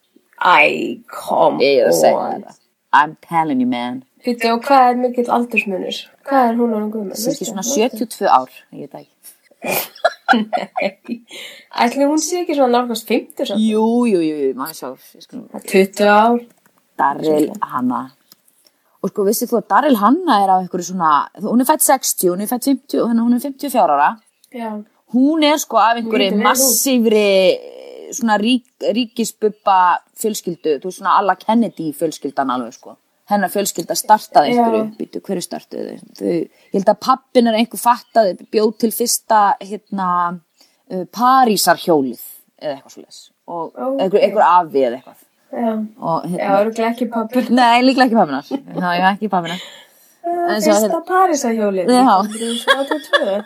[SPEAKER 3] Æ, kom.
[SPEAKER 2] ég er að segja það I'm telling you man,
[SPEAKER 3] Býttu, og hvað er mikill aldursmunur? Hvað er hún og hún guðmenn?
[SPEAKER 2] það er ekki svona 72 ár ég veit það ekki
[SPEAKER 3] Ætli hún sé ekki svona nálgast 50 svo?
[SPEAKER 2] jú, jú, jú, jú, maður sjá ég skulum
[SPEAKER 3] 20 ár.
[SPEAKER 2] Daryl Hanna og sko vissið þú að Daryl Hanna er af einhverju svona, hún er fætt 60 hún er fætt 50, þannig að hún er 54 ára
[SPEAKER 3] Já.
[SPEAKER 2] hún er sko af einhverju
[SPEAKER 3] Lítur vel út.
[SPEAKER 2] massífri eh, svona rík, ríkisbubba fjölskyldu, þú veist svona alla Kennedy fjölskyldan alveg sko hennar fjölskylda startaði einhverju
[SPEAKER 3] Já.
[SPEAKER 2] uppbyttu, hverju startuðu þau? þau? Ég held að pappin er einhver fattaði, bjóð til fyrsta hérna uh, Parísar hjólið eða eitthvað svo les og
[SPEAKER 3] Ókei.
[SPEAKER 2] einhver, einhver afi eða eitthvað
[SPEAKER 3] Já.
[SPEAKER 2] og
[SPEAKER 3] Já,
[SPEAKER 2] hérna
[SPEAKER 3] örgulega ekki pappur.
[SPEAKER 2] Nei, líklega ekki pappinar. Já, já, ekki pappinar. En svo-
[SPEAKER 3] Fyrsta Parísahjólið.
[SPEAKER 2] Já.
[SPEAKER 3] 1982.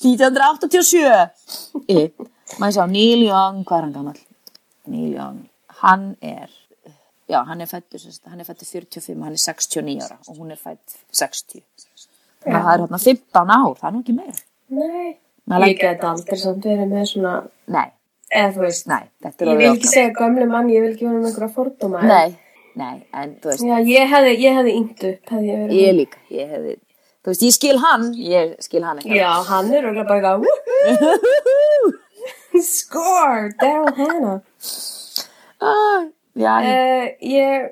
[SPEAKER 2] 1987. Í, Maður sjá, Neil Young, hvað er hann gammal? Neil Young, hann er, já, hann er fættur, sem sagt, hann er fættur 45, hann er 69 ára og hún er fætt 60. Þannig að það er hérna 15 ár, það er nú ekki meira.
[SPEAKER 3] Nei.
[SPEAKER 2] Maður lætur-
[SPEAKER 3] Ég get aldrei samt verið með svona,
[SPEAKER 2] Nei,
[SPEAKER 3] eða þú veist,
[SPEAKER 2] nei, þetta er
[SPEAKER 3] ég vil
[SPEAKER 2] orðið
[SPEAKER 3] ekki
[SPEAKER 2] okkar.
[SPEAKER 3] segja gömlu mann, ég vil ekki vera með einhverja fordóma. en-
[SPEAKER 2] Nei, nei, en þú veist,
[SPEAKER 3] Já, ég hefði, ég hefði yngt upp, hefði ég verið.
[SPEAKER 2] ég líka, ég hefði, þú veist, ég skil hann, ég skil hann ekki.
[SPEAKER 3] Já, hann er örgulega bara eitthvað, "Woohoo, score, Daryl Hannah.
[SPEAKER 2] Ah, Já, ég-
[SPEAKER 3] Uh, ég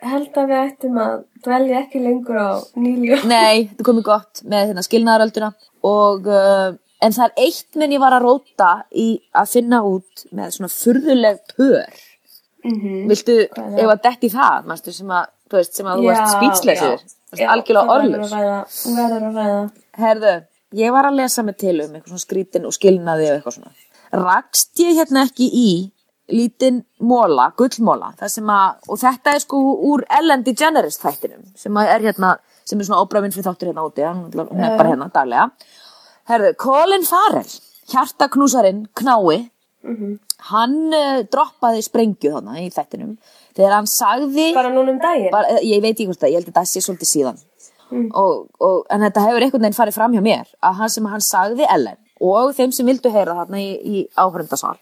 [SPEAKER 3] held að við ættum að dvelja ekki lengur á nýljó.
[SPEAKER 2] Nei, þetta komið gott með hérna, skilnaðarölduna og uh, en það er eitt menn ég var að róta í að finna út með svona furðuleg pör.
[SPEAKER 3] Mm -hmm.
[SPEAKER 2] Viltu,
[SPEAKER 3] Hvað er það?
[SPEAKER 2] ef að detti það, manstu, sem að, þú veist, sem að þú ert spýtsleysir, algjörlega orðlust.
[SPEAKER 3] Þú verður að ræða.
[SPEAKER 2] Herðu, ég var að lesa mig til um eitthvað svona skrítin og skilnaði og eitthvað svona. Rakst ég hérna ekki í lítinn móla, gullmóla, það sem að, og þetta er sko úr Ellen DeGeneres þættinum, sem að er hérna, sem er svona óbræfinn fyrir þáttur hérna úti, hann hún er bara hérna daglega. Herðu, Colin Farrell, hjartaknúsarinn, knái,
[SPEAKER 3] Mhm.
[SPEAKER 2] hann uh, droppaði sprengju þarna í þættinum, þegar hann sagði
[SPEAKER 3] Bara núna um daginn?
[SPEAKER 2] bara, eh, ég veit ekki hvort það, ég held að þetta sé svolítið síðan og, og, en þetta hefur einhvern veginn farið fram hjá mér að hann sem hann sagði Ellen og þeim sem vildu heyra þarna í, í áhörndasal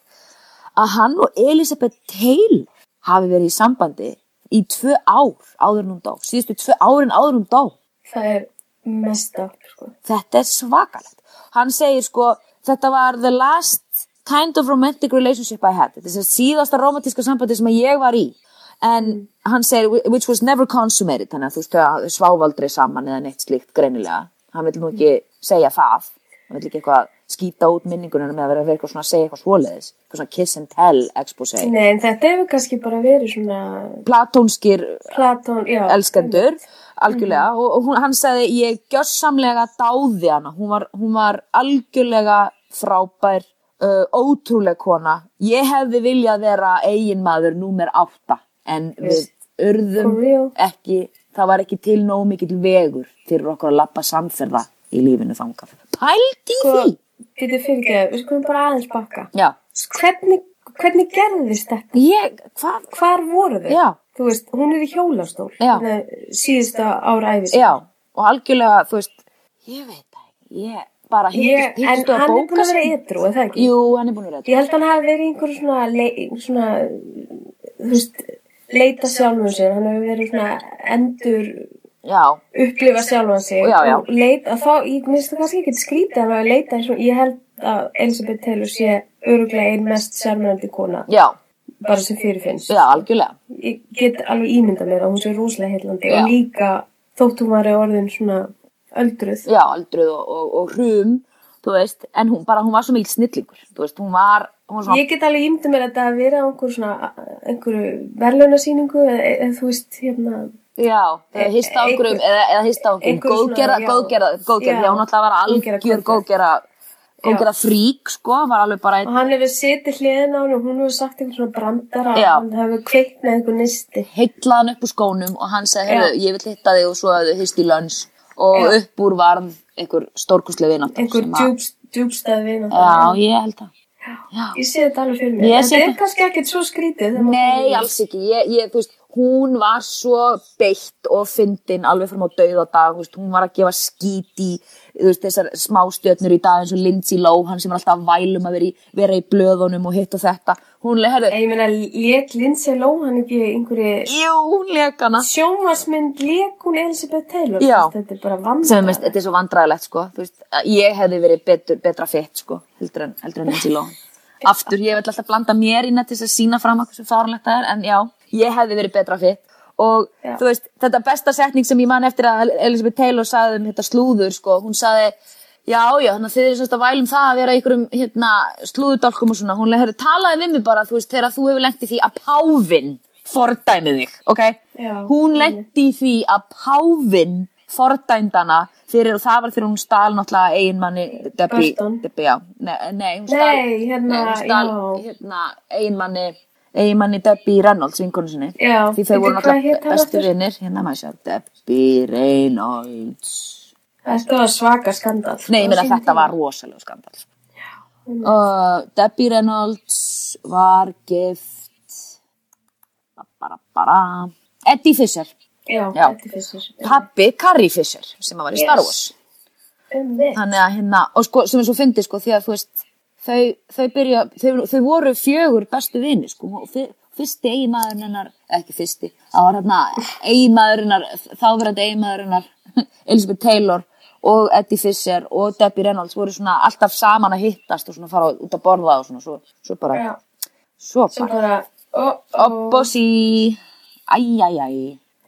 [SPEAKER 2] að hann og Elisabeth Taylor hafi verið í sambandi í tvö ár áður en hún dó síðustu tvö árin áður en hún dó
[SPEAKER 3] Það er mest af, sko.
[SPEAKER 2] þetta er svakalegt hann segir sko, þetta var the last kind of romantic relationship I had þetta er sem síðasta romantíska sambandi sem ég var í en hann segir which was never consummated þannig að þú veist að svávaldri saman eða neitt slíkt greinilega hann vil nú ekki segja það hann vil ekki eitthvað skýta út minningunum með að vera að vera eitthvað svona að segja eitthvað svoleiðis, eitthvað svona kiss and tell expose.
[SPEAKER 3] Nei, en þetta hefur kannski bara verið svona
[SPEAKER 2] Platónskir
[SPEAKER 3] Platón, já.
[SPEAKER 2] elskendur, algjörlega,
[SPEAKER 3] Mm.
[SPEAKER 2] og, og hún, hann sagði ég gjörsamlega dáði hana, hún var, hún var algjörlega frábær, uh, ótrúleg kona, ég hefði viljað vera eiginmaður númer átta, en við
[SPEAKER 3] Veist. For
[SPEAKER 2] urðum
[SPEAKER 3] real.
[SPEAKER 2] ekki, það var ekki til nóg mikill vegur fyrir okkur að lappa samferða í lífinu þangað. Pældi sko,
[SPEAKER 3] Sko,
[SPEAKER 2] því!
[SPEAKER 3] Þetta fyrirgeðu, við skulum bara aðeins bakka.
[SPEAKER 2] Já,
[SPEAKER 3] Hvernig, hvernig gerðist þetta?
[SPEAKER 2] ég, hvað,
[SPEAKER 3] Hvar voru þau?
[SPEAKER 2] Já.
[SPEAKER 3] Þú veist, hún er í hjólastól.
[SPEAKER 2] Já.
[SPEAKER 3] Nei, Síðusta ára æfis.
[SPEAKER 2] já, og algjörlega, þú veist, ég veit það ekki, ég bara
[SPEAKER 3] Ég, en
[SPEAKER 2] hittist
[SPEAKER 3] hann er búin að vera ytrú, er það ekki?
[SPEAKER 2] Jú, hann er búin að vera
[SPEAKER 3] Ég held að hann hafi verið í einhverju svona, le, svona, þú veist, leita sjálfum sér. Hann hefur verið svona endur
[SPEAKER 2] Já,
[SPEAKER 3] upplifa sjálfan sig.
[SPEAKER 2] Já, já.
[SPEAKER 3] Og leita, þá, ég minnst það kannski ekki skrítið að hann hafi leita eins og ég held að Elisabeth Taylor sé öruglega ein mest sérmennandi kona,
[SPEAKER 2] já,
[SPEAKER 3] bara sem fyrirfinnst.
[SPEAKER 2] já, algjörlega.
[SPEAKER 3] Ég get alveg ímyndað mér að hún sé rúslega heillandi
[SPEAKER 2] Já.
[SPEAKER 3] og líka þótt hún var orðin svona öldruð.
[SPEAKER 2] Já, aldruð og, og, og hrum, þú veist, en hún bara, hún var svo mikil snillingur, þú veist, hún var, hún var svona,
[SPEAKER 3] Ég get alveg ímyndað mér að þetta hafi verið á einhver svona, einhverju verðlaunasýningu eða, eða þú veist, hérna,
[SPEAKER 2] já, eða hista á
[SPEAKER 3] e- einhver-
[SPEAKER 2] einhverjum, eða, eða hista á einhverjum,
[SPEAKER 3] einhver svona,
[SPEAKER 2] góðgerða,
[SPEAKER 3] já.
[SPEAKER 2] góðgerða, góðgerða,
[SPEAKER 3] Já.
[SPEAKER 2] já, hún alltaf var
[SPEAKER 3] Góðgerða,
[SPEAKER 2] algjör
[SPEAKER 3] góðgerða.
[SPEAKER 2] góðgerða, góðgerða frík, sko, var alveg bara
[SPEAKER 3] Og
[SPEAKER 2] einn
[SPEAKER 3] hann hefur setið hliðin á hann og hún hefur sagt einhvern svona brandara
[SPEAKER 2] Já.
[SPEAKER 3] hann hefur kveiknað einhver nisti.
[SPEAKER 2] heitlaðan upp úr skónum og hann sagði,
[SPEAKER 3] Já.
[SPEAKER 2] heyrðu, ég vil hitta þig og svo hefðu hist í lönns og
[SPEAKER 3] Já.
[SPEAKER 2] upp úr varð einhver stórkustlega vináttur.
[SPEAKER 3] Einhver
[SPEAKER 2] sem að-
[SPEAKER 3] djúbst, djúbstæð vinn.
[SPEAKER 2] Já, ég held það. Já.
[SPEAKER 3] Ég sé þetta alveg fyrir mér.
[SPEAKER 2] Ég
[SPEAKER 3] En
[SPEAKER 2] sé
[SPEAKER 3] Þetta er
[SPEAKER 2] þetta.
[SPEAKER 3] kannski ekkert svo skrítið. þegar
[SPEAKER 2] Nei,
[SPEAKER 3] maður-
[SPEAKER 2] alls ekki. Ég, ég, þú veist, hún var svo beitt og fyndin alveg fram á dauðadag. þú veist, Hún var að gefa skít í þú veist, þessar smástjörnur í dag eins og Lindsay Lohan sem er alltaf að vælum að vera í, vera í blöðunum og hitt og þetta. Hún, le- herðu,
[SPEAKER 3] En Ég meina, létt Lindsay Lohan ekki einhverju
[SPEAKER 2] jú, hún leik hana.
[SPEAKER 3] sjómasmynd létt hún Elisabeth Taylor.
[SPEAKER 2] Já.
[SPEAKER 3] Þetta er bara vandar.
[SPEAKER 2] Sem, veist, þetta er svo vandræðilegt, sko. Þú veist, að ég hefði verið betur, betra fett, sko, heldur en, heldur en Lindsay Lohan. Aftur, ég vil alltaf blanda mér inn að til þess að sína fram að hversu fáránlegt það er, en já, ég hefði verið betra fett. Og
[SPEAKER 3] Já.
[SPEAKER 2] þú veist, þetta besta setning sem ég man eftir að Elizabeth Taylor sagði um þetta slúður, sko, hún sagði, já, já, þannig að þið eru semst að vælum það að vera í einhverjum, hérna, slúðudálkum og svona, hún hefði talaði við mig bara, þú veist, þegar þú hefur lengt í því að páfinn fordæmið þig, ok?
[SPEAKER 3] Já.
[SPEAKER 2] hún lendi í því að páfinn fordæmdana fyrir, og það var fyrir hún stál náttúrulega eiginmanni Debbie,
[SPEAKER 3] Burton.
[SPEAKER 2] Debbie, já, nei, nei, hún stál,
[SPEAKER 3] Nei, hérna,
[SPEAKER 2] nei, hún stál
[SPEAKER 3] já.
[SPEAKER 2] hérna, eiginmanni, eiginmanni Debbie Reynolds, vinkonu sinni,
[SPEAKER 3] Já,
[SPEAKER 2] því þau
[SPEAKER 3] veitu
[SPEAKER 2] voru
[SPEAKER 3] hvað hét
[SPEAKER 2] náttúrulega
[SPEAKER 3] hann
[SPEAKER 2] bestu
[SPEAKER 3] aftur?
[SPEAKER 2] vinnir, hérna maður sér, Debbie Reynolds,
[SPEAKER 3] Þetta var svaka skandal.
[SPEAKER 2] nei, ég
[SPEAKER 3] Á
[SPEAKER 2] meina
[SPEAKER 3] sínum
[SPEAKER 2] þetta
[SPEAKER 3] tíma.
[SPEAKER 2] var rosalega skandal, uh, Debbie Reynolds var gift, bara, bara, Eddie Fisher,
[SPEAKER 3] Já,
[SPEAKER 2] Já.
[SPEAKER 3] þetta finnst þér.
[SPEAKER 2] pappi Carrie Fisher sem að var í Star
[SPEAKER 3] Yes.
[SPEAKER 2] Wars
[SPEAKER 3] Um mig.
[SPEAKER 2] þannig að hérna, og sko, sem er svo fyndi sko, því að þú veist, þau, þau byrja þau, þau voru fjögur bestu vini sko, og fyr- fyrsti eiginmaðurinn hennar eða ekki fyrsti, það var hérna eiginmaðurinnar, þáverandi eiginmaðurinnar Elizabeth Taylor og Eddie Fisher og Debbie Reynolds voru svona alltaf saman að hittast og svona fara út að borða og svona, svo, svo bara
[SPEAKER 3] Já,
[SPEAKER 2] svo
[SPEAKER 3] svo
[SPEAKER 2] bara,
[SPEAKER 3] bara, ó, ó.
[SPEAKER 2] oppósi æjæjæj,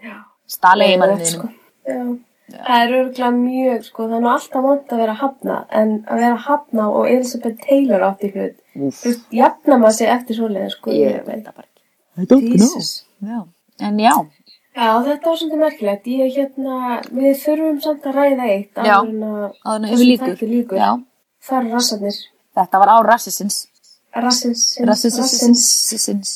[SPEAKER 3] Já.
[SPEAKER 2] stala
[SPEAKER 3] Eða,
[SPEAKER 2] eiginmaðurinn
[SPEAKER 3] sko. Já. Það er örgulega mjög, sko, það er nú alltaf vant að vera hafna, en að vera hafna og Elizabeth Taylor átti hlut,
[SPEAKER 2] Úff.
[SPEAKER 3] þú veist, jafna maður sig eftir svoleiða, sko,
[SPEAKER 2] ég veit það bara ekki I
[SPEAKER 3] Jesus.
[SPEAKER 2] Já. En já,
[SPEAKER 3] Já, þetta var svolítið merkilegt, ég er hérna, við þurfum samt að ræða eitt,
[SPEAKER 2] Já.
[SPEAKER 3] áður en að,
[SPEAKER 2] áður en
[SPEAKER 3] þessu
[SPEAKER 2] yfir líkur.
[SPEAKER 3] þætti líkur.
[SPEAKER 2] Já,
[SPEAKER 3] Það eru rassarnir,
[SPEAKER 2] þetta var á rassisins.
[SPEAKER 3] rassins,
[SPEAKER 2] Rassisins.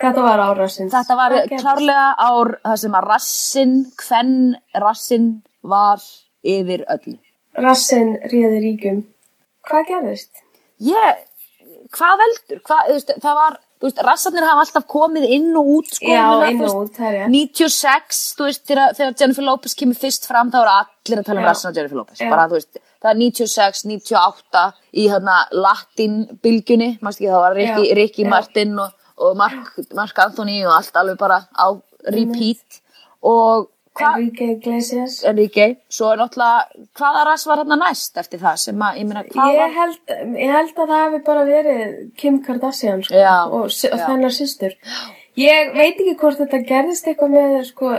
[SPEAKER 3] þetta var á rassins.
[SPEAKER 2] Þetta var
[SPEAKER 3] Það gerðist.
[SPEAKER 2] klárlega ár það sem að rassin, hvenn rassin var yfir öllu.
[SPEAKER 3] Rassin réði ríkum. Hvað gerðist?
[SPEAKER 2] Ég, hvað veldur? Hvað, þú veist, það var, þú veist, rassarnir hafa alltaf komið inn og út sko.
[SPEAKER 3] Já,
[SPEAKER 2] þannig að,
[SPEAKER 3] inn
[SPEAKER 2] þú veist,
[SPEAKER 3] og út, það er ég.
[SPEAKER 2] 96, þú veist, þegar, þegar Jennifer Lopez kemur fyrst fram, þá eru allir að tala um
[SPEAKER 3] Já.
[SPEAKER 2] rassin á Jennifer Lopez.
[SPEAKER 3] Já.
[SPEAKER 2] Bara, þú veist, það er 96, 98 í hérna latinbylgjunni, mást ekki, það var Ricky,
[SPEAKER 3] Já.
[SPEAKER 2] Ricky
[SPEAKER 3] Já.
[SPEAKER 2] Martin og, og Mark, Mark Anthony og allt alveg bara á repeat. Og hvað,
[SPEAKER 3] Enrique Iglesias.
[SPEAKER 2] Enrique, svo er náttúrulega, hvaða rass var hérna næst eftir það sem að, ég meina, hvað
[SPEAKER 3] Ég
[SPEAKER 2] var?
[SPEAKER 3] held, ég held að það hefði bara verið Kim Kardashian sko,
[SPEAKER 2] Já,
[SPEAKER 3] og, sy- og
[SPEAKER 2] já.
[SPEAKER 3] þennar systur. Ég veit ekki hvort þetta gerðist eitthvað með, sko,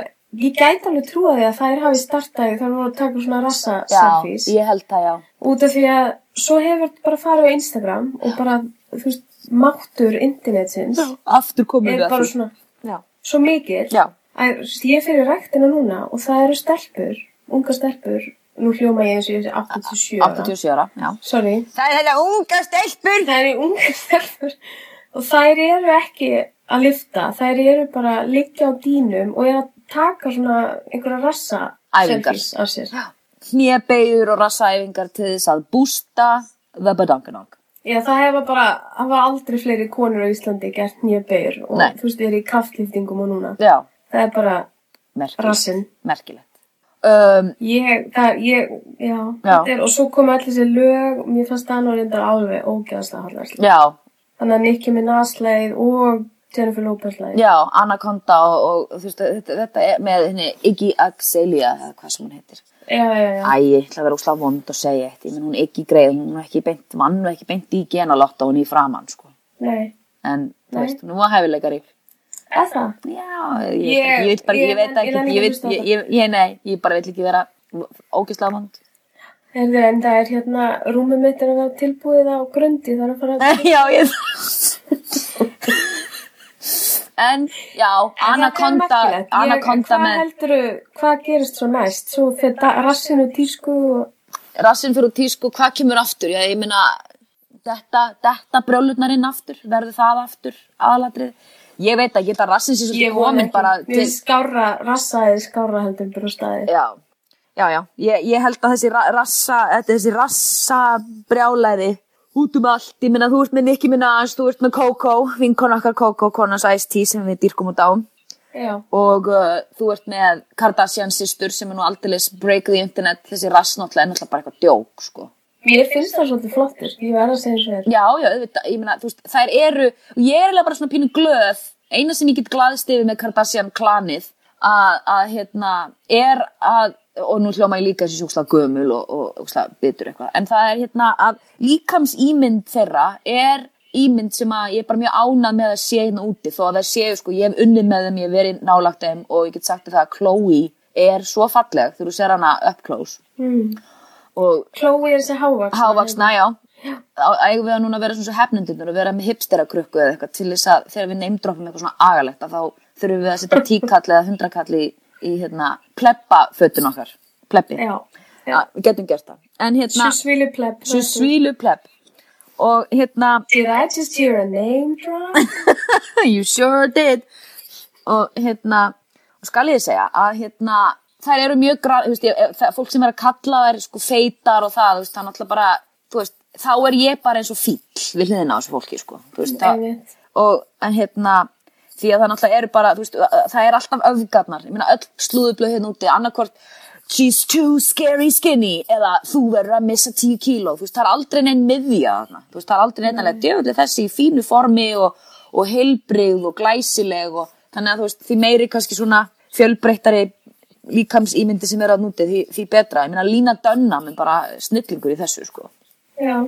[SPEAKER 3] ég gæti alveg trúa því að þær hafi startað þegar voru að taka svona rassa
[SPEAKER 2] Já,
[SPEAKER 3] selfies.
[SPEAKER 2] ég held það, já.
[SPEAKER 3] Út af því að svo hefur þetta bara farið á Instagram og bara, þú veist, máttur internetsins
[SPEAKER 2] Aftur komum
[SPEAKER 3] er
[SPEAKER 2] við að
[SPEAKER 3] bara
[SPEAKER 2] því.
[SPEAKER 3] svona
[SPEAKER 4] Já.
[SPEAKER 3] svo mikill
[SPEAKER 2] Já.
[SPEAKER 3] að þú veist, ég fyrir ræktina núna og það eru stelpur, unga stelpur nú hljóma ég eins og ég sé 87 ára.
[SPEAKER 2] 87 ára, já.
[SPEAKER 3] sorry,
[SPEAKER 4] Það er
[SPEAKER 3] hérna
[SPEAKER 4] þetta unga stelpur.
[SPEAKER 3] það eru unga stelpur og þær eru ekki að lifta, þær eru bara að liggja á dýnum og eru að taka svona einhverja rassa
[SPEAKER 2] Æfingar.
[SPEAKER 3] selfies af sér.
[SPEAKER 2] Hnjabeigur og rassaæfingar til þess að bústa the badanganong.
[SPEAKER 3] Já, það hefur bara, það var aldrei fleiri konur á Íslandi gert nýja beigur og
[SPEAKER 2] Nei.
[SPEAKER 3] þú veist, ég er í kraftlýftingum og núna.
[SPEAKER 2] Já,
[SPEAKER 3] Það er bara
[SPEAKER 2] merkilegt.
[SPEAKER 3] rassinn.
[SPEAKER 2] merkilegt. Um,
[SPEAKER 3] Ég, það, ég, já, þetta er, og svo komu allir þessi lög, mér fannst það nú reyndar alveg ógeðaslega hallarslið.
[SPEAKER 2] já,
[SPEAKER 3] Þannig að Nicki Minaj-leið og Jennifer Lopez-leið.
[SPEAKER 2] já, Anaconda og, og þú veist, þetta, þetta er með henni Iggy Axelia, eða hvað sem hún heitir.
[SPEAKER 3] Já, já, já.
[SPEAKER 2] Æ, ég ætla að vera úslega vond og segja eitt. Ég menn hún er ekki greið, hún er ekki beint mann, hún er ekki beint í genalótt og hún er í framann, sko.
[SPEAKER 3] Nei,
[SPEAKER 2] En, þú
[SPEAKER 3] Nei.
[SPEAKER 2] veist, hún var hæfileikari.
[SPEAKER 3] eða það?
[SPEAKER 2] Já, ég,
[SPEAKER 3] Ég-
[SPEAKER 2] ég, ég veit bara, ég,
[SPEAKER 3] ég-
[SPEAKER 2] veit
[SPEAKER 3] ég
[SPEAKER 2] ekki,
[SPEAKER 3] nenni ekki
[SPEAKER 2] ég
[SPEAKER 3] að
[SPEAKER 2] veit,
[SPEAKER 3] hlusta á
[SPEAKER 2] ég, ég, ég, nei, ég bara veit ekki vera ógislega vond.
[SPEAKER 3] Herðu, en það er hérna, rúmið mitt er að vera tilbúið á grundi, það er að fara að...
[SPEAKER 2] já, ég... en, já, Anaconda,
[SPEAKER 3] Þetta er merkilegt. Ég-
[SPEAKER 2] Anaconda
[SPEAKER 3] hvað
[SPEAKER 2] með...
[SPEAKER 3] heldurðu, hvað gerist svo næst? Svo fyrir rassinu tísku og...
[SPEAKER 2] rassinn fyrir úr tísku, hvað kemur aftur? Já, ég meina, þetta, þetta brjólutnarinn aftur, verður það aftur aðalatrið? Ég veit ekki, þetta rassinn sé svolítið komin bara
[SPEAKER 3] Mér
[SPEAKER 2] til...
[SPEAKER 3] finnst skára, rassaði skára heldur en brjóstaði.
[SPEAKER 2] Já, já, já. Ég, ég held að þessi ra rassa, þetta þessi rassa brjálæði út um allt. Ég meina, þú ert með Nicki Minaj, þú ert með Coco, vinkona okkar Coco, konans Ice-T sem við dýrkum út á.
[SPEAKER 3] Já.
[SPEAKER 2] Og uh, þú ert með Kardashian systur sem er nú aldeilis break the internet, þessi rass náttúrulega er náttúrulega bara eitthvað djók, sko.
[SPEAKER 3] Mér finnst það svolítið flottir, ég verð að segja eins og þér.
[SPEAKER 2] Já, já, auðvitað, ég meina, þú veist, þær eru, og ég er eiginlega bara svona pínu glöð, eina sem ég get glaðist yfir með Kardashian klanið, að, að, hérna, er að, og nú hljóma ég líka þessi sjúkslega gömul og, og sjúkslega bitur eitthvað, en það er, hérna, að líkams ímynd þeirra er ímynd sem að ég er bara mjög ánað með að sé hérna úti, þó að það séu, sko, ég hef unnið með þeim, ég hef verið nálagt þeim og ég get sagt þér það að Chloe er svo falleg þegar þú ser hana up close Hmm.
[SPEAKER 3] Mm.
[SPEAKER 2] og
[SPEAKER 3] Chloe er þessi hávaksna.
[SPEAKER 2] Hávaksna, já. Á- Ægum við að núna vera svona svo hefnundunur og vera með hipsterakrukku eða eitthvað til þess að þegar við neymdroppum eitthvað svona agalegt að þá þurfum við að setja tíkall eða hundrakall í, í hérna, plebbafötun okkar. Plebbi.
[SPEAKER 3] Já. já.
[SPEAKER 2] Að Við getum gert það. En hérna,
[SPEAKER 3] Susvili pleb.
[SPEAKER 2] svo svílu plebb. Og hérna,
[SPEAKER 3] Did I just hear a name drop?
[SPEAKER 2] you sure did. Og hérna, og skal ég segja að hérna, þær eru mjög grá, þú veist, ég, e, það, fólk sem er að kalla þær sko feitar og það, þú veist, það er náttúrulega bara, þú veist, þá er ég bara eins og fíll við hliðina á þessu fólki, sko, þú veist, það,
[SPEAKER 3] Einmitt.
[SPEAKER 2] og, en hérna, því að það náttúrulega eru bara, þú veist, það er alltaf öfgarnar, ég meina, öll slúðublöð hérna úti, annarkvort, she's too scary skinny, eða þú verður að missa 10 kíló, þú veist, það er aldrei neinn miðja þarna, þú veist, það er aldrei neinn alveg djöfulli þessi í fínu formi og, og heilbrigð og glæsileg og þannig að þú veist, því meiri kannski svona fjölbreyttari líkamsýmyndi sem er að núti, því, því betra, ég meina, Lína Dönna, menn bara snillingur í þessu, sko
[SPEAKER 3] Já.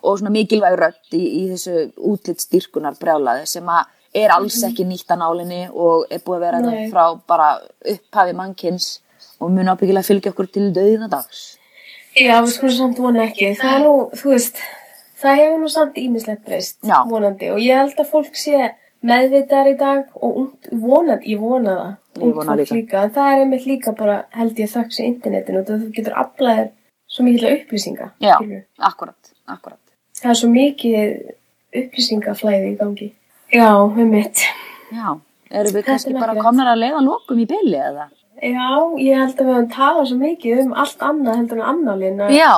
[SPEAKER 2] og svona mikilvæg rödd í, í þessu útlitsstyrkunar brjálaði sem að er alls ekki nýtt að nálinni og er búið að vera
[SPEAKER 3] Mhm. Nei.
[SPEAKER 2] þetta frá bara upphafi mannkins og mun ábyggilega fylgja okkur til döðina dags.
[SPEAKER 3] Já, við skulum samt vona ekki. Það er nú, þú veist, það hefur nú samt ímislegt breyst.
[SPEAKER 2] Já.
[SPEAKER 3] Vonandi. Og ég held að fólk sé meðvitaðar í dag og ungt, vonandi, ég vona það.
[SPEAKER 2] Ég
[SPEAKER 3] Ungt
[SPEAKER 2] vona
[SPEAKER 3] fólk
[SPEAKER 2] líka.
[SPEAKER 3] En það er einmitt líka bara, held ég, þöggs í internetinu. Þú þú getur aflaðir svo mikil upplýsinga.
[SPEAKER 2] Já,
[SPEAKER 3] skilurðu.
[SPEAKER 2] akkurat, akkurat.
[SPEAKER 3] Það er svo mikið upplýsingaflæði í gangi. Já, um mitt.
[SPEAKER 2] Já, eru við
[SPEAKER 3] Þetta er
[SPEAKER 2] kannski bara
[SPEAKER 3] merkilegt.
[SPEAKER 2] komnar að leiða lokum í bylli eða?
[SPEAKER 3] Já, ég held að við höfum talað svo mikið um allt annað heldur en annálinn.
[SPEAKER 2] Já,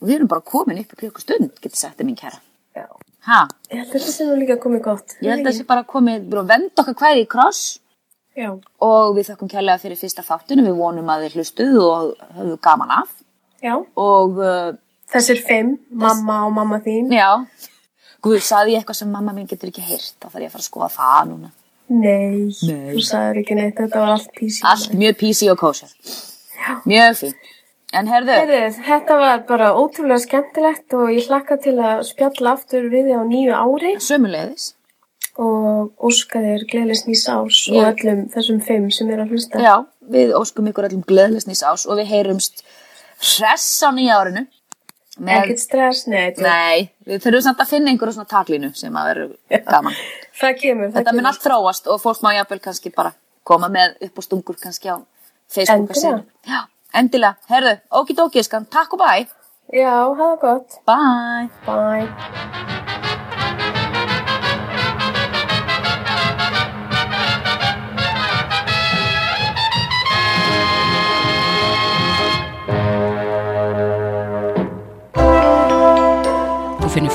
[SPEAKER 2] við erum bara komin upp í klukkustund, getur sagt það mín kæra.
[SPEAKER 3] Já.
[SPEAKER 2] Ha,
[SPEAKER 3] Ég held að þetta sé nú líka komið gott.
[SPEAKER 2] ég held að þessi bara komið, við erum að venda okkar hverði í kross
[SPEAKER 3] Já.
[SPEAKER 2] og við þakkum kærlega fyrir fyrsta þáttinu, við vonum að þið hlustuð og höfðu gaman af
[SPEAKER 3] Já.
[SPEAKER 2] og uh,
[SPEAKER 3] Þessir fimm, mamma og mamma þín.
[SPEAKER 2] Já. Guð, saði ég eitthvað sem mamma mín getur ekki heyrt, þá þarf ég að fara að skoða það núna.
[SPEAKER 3] Nei,
[SPEAKER 2] Nei.
[SPEAKER 3] þú sagður ekki neitt, þetta var allt písið.
[SPEAKER 2] Allt mjög písi og kósa. Mjög fín. En herðu,
[SPEAKER 3] Heyrðu, þetta var bara ótrúlega skemmtilegt og ég hlakka til að spjalla aftur við þið á nýju ári
[SPEAKER 2] sömulegðis.
[SPEAKER 3] og óska þér gleðlis nýs árs
[SPEAKER 2] Ég-
[SPEAKER 3] og öllum þessum fimm sem eru að hlusta.
[SPEAKER 2] Já, við óskum ykkur öllum gleðlisnís ás og við heyrumst hress á nýja árinu. Með,
[SPEAKER 3] ekkert stress, nei, þetta-
[SPEAKER 2] nei, við þurfum samt að finna einhverju svona taklínu sem að vera gaman.
[SPEAKER 3] það kemur, það
[SPEAKER 2] Þetta mun
[SPEAKER 3] kemur.
[SPEAKER 2] allt þróast og fólk má jafnvel kannski bara koma með upp á stungur kannski á Facebook að segja.
[SPEAKER 3] Endilega.
[SPEAKER 2] Já, endilega. Herðu, okidokiskan, takk og bæ.
[SPEAKER 3] Já, hafa það gott.
[SPEAKER 2] Bæ.
[SPEAKER 3] Bye.
[SPEAKER 1] Þú finnir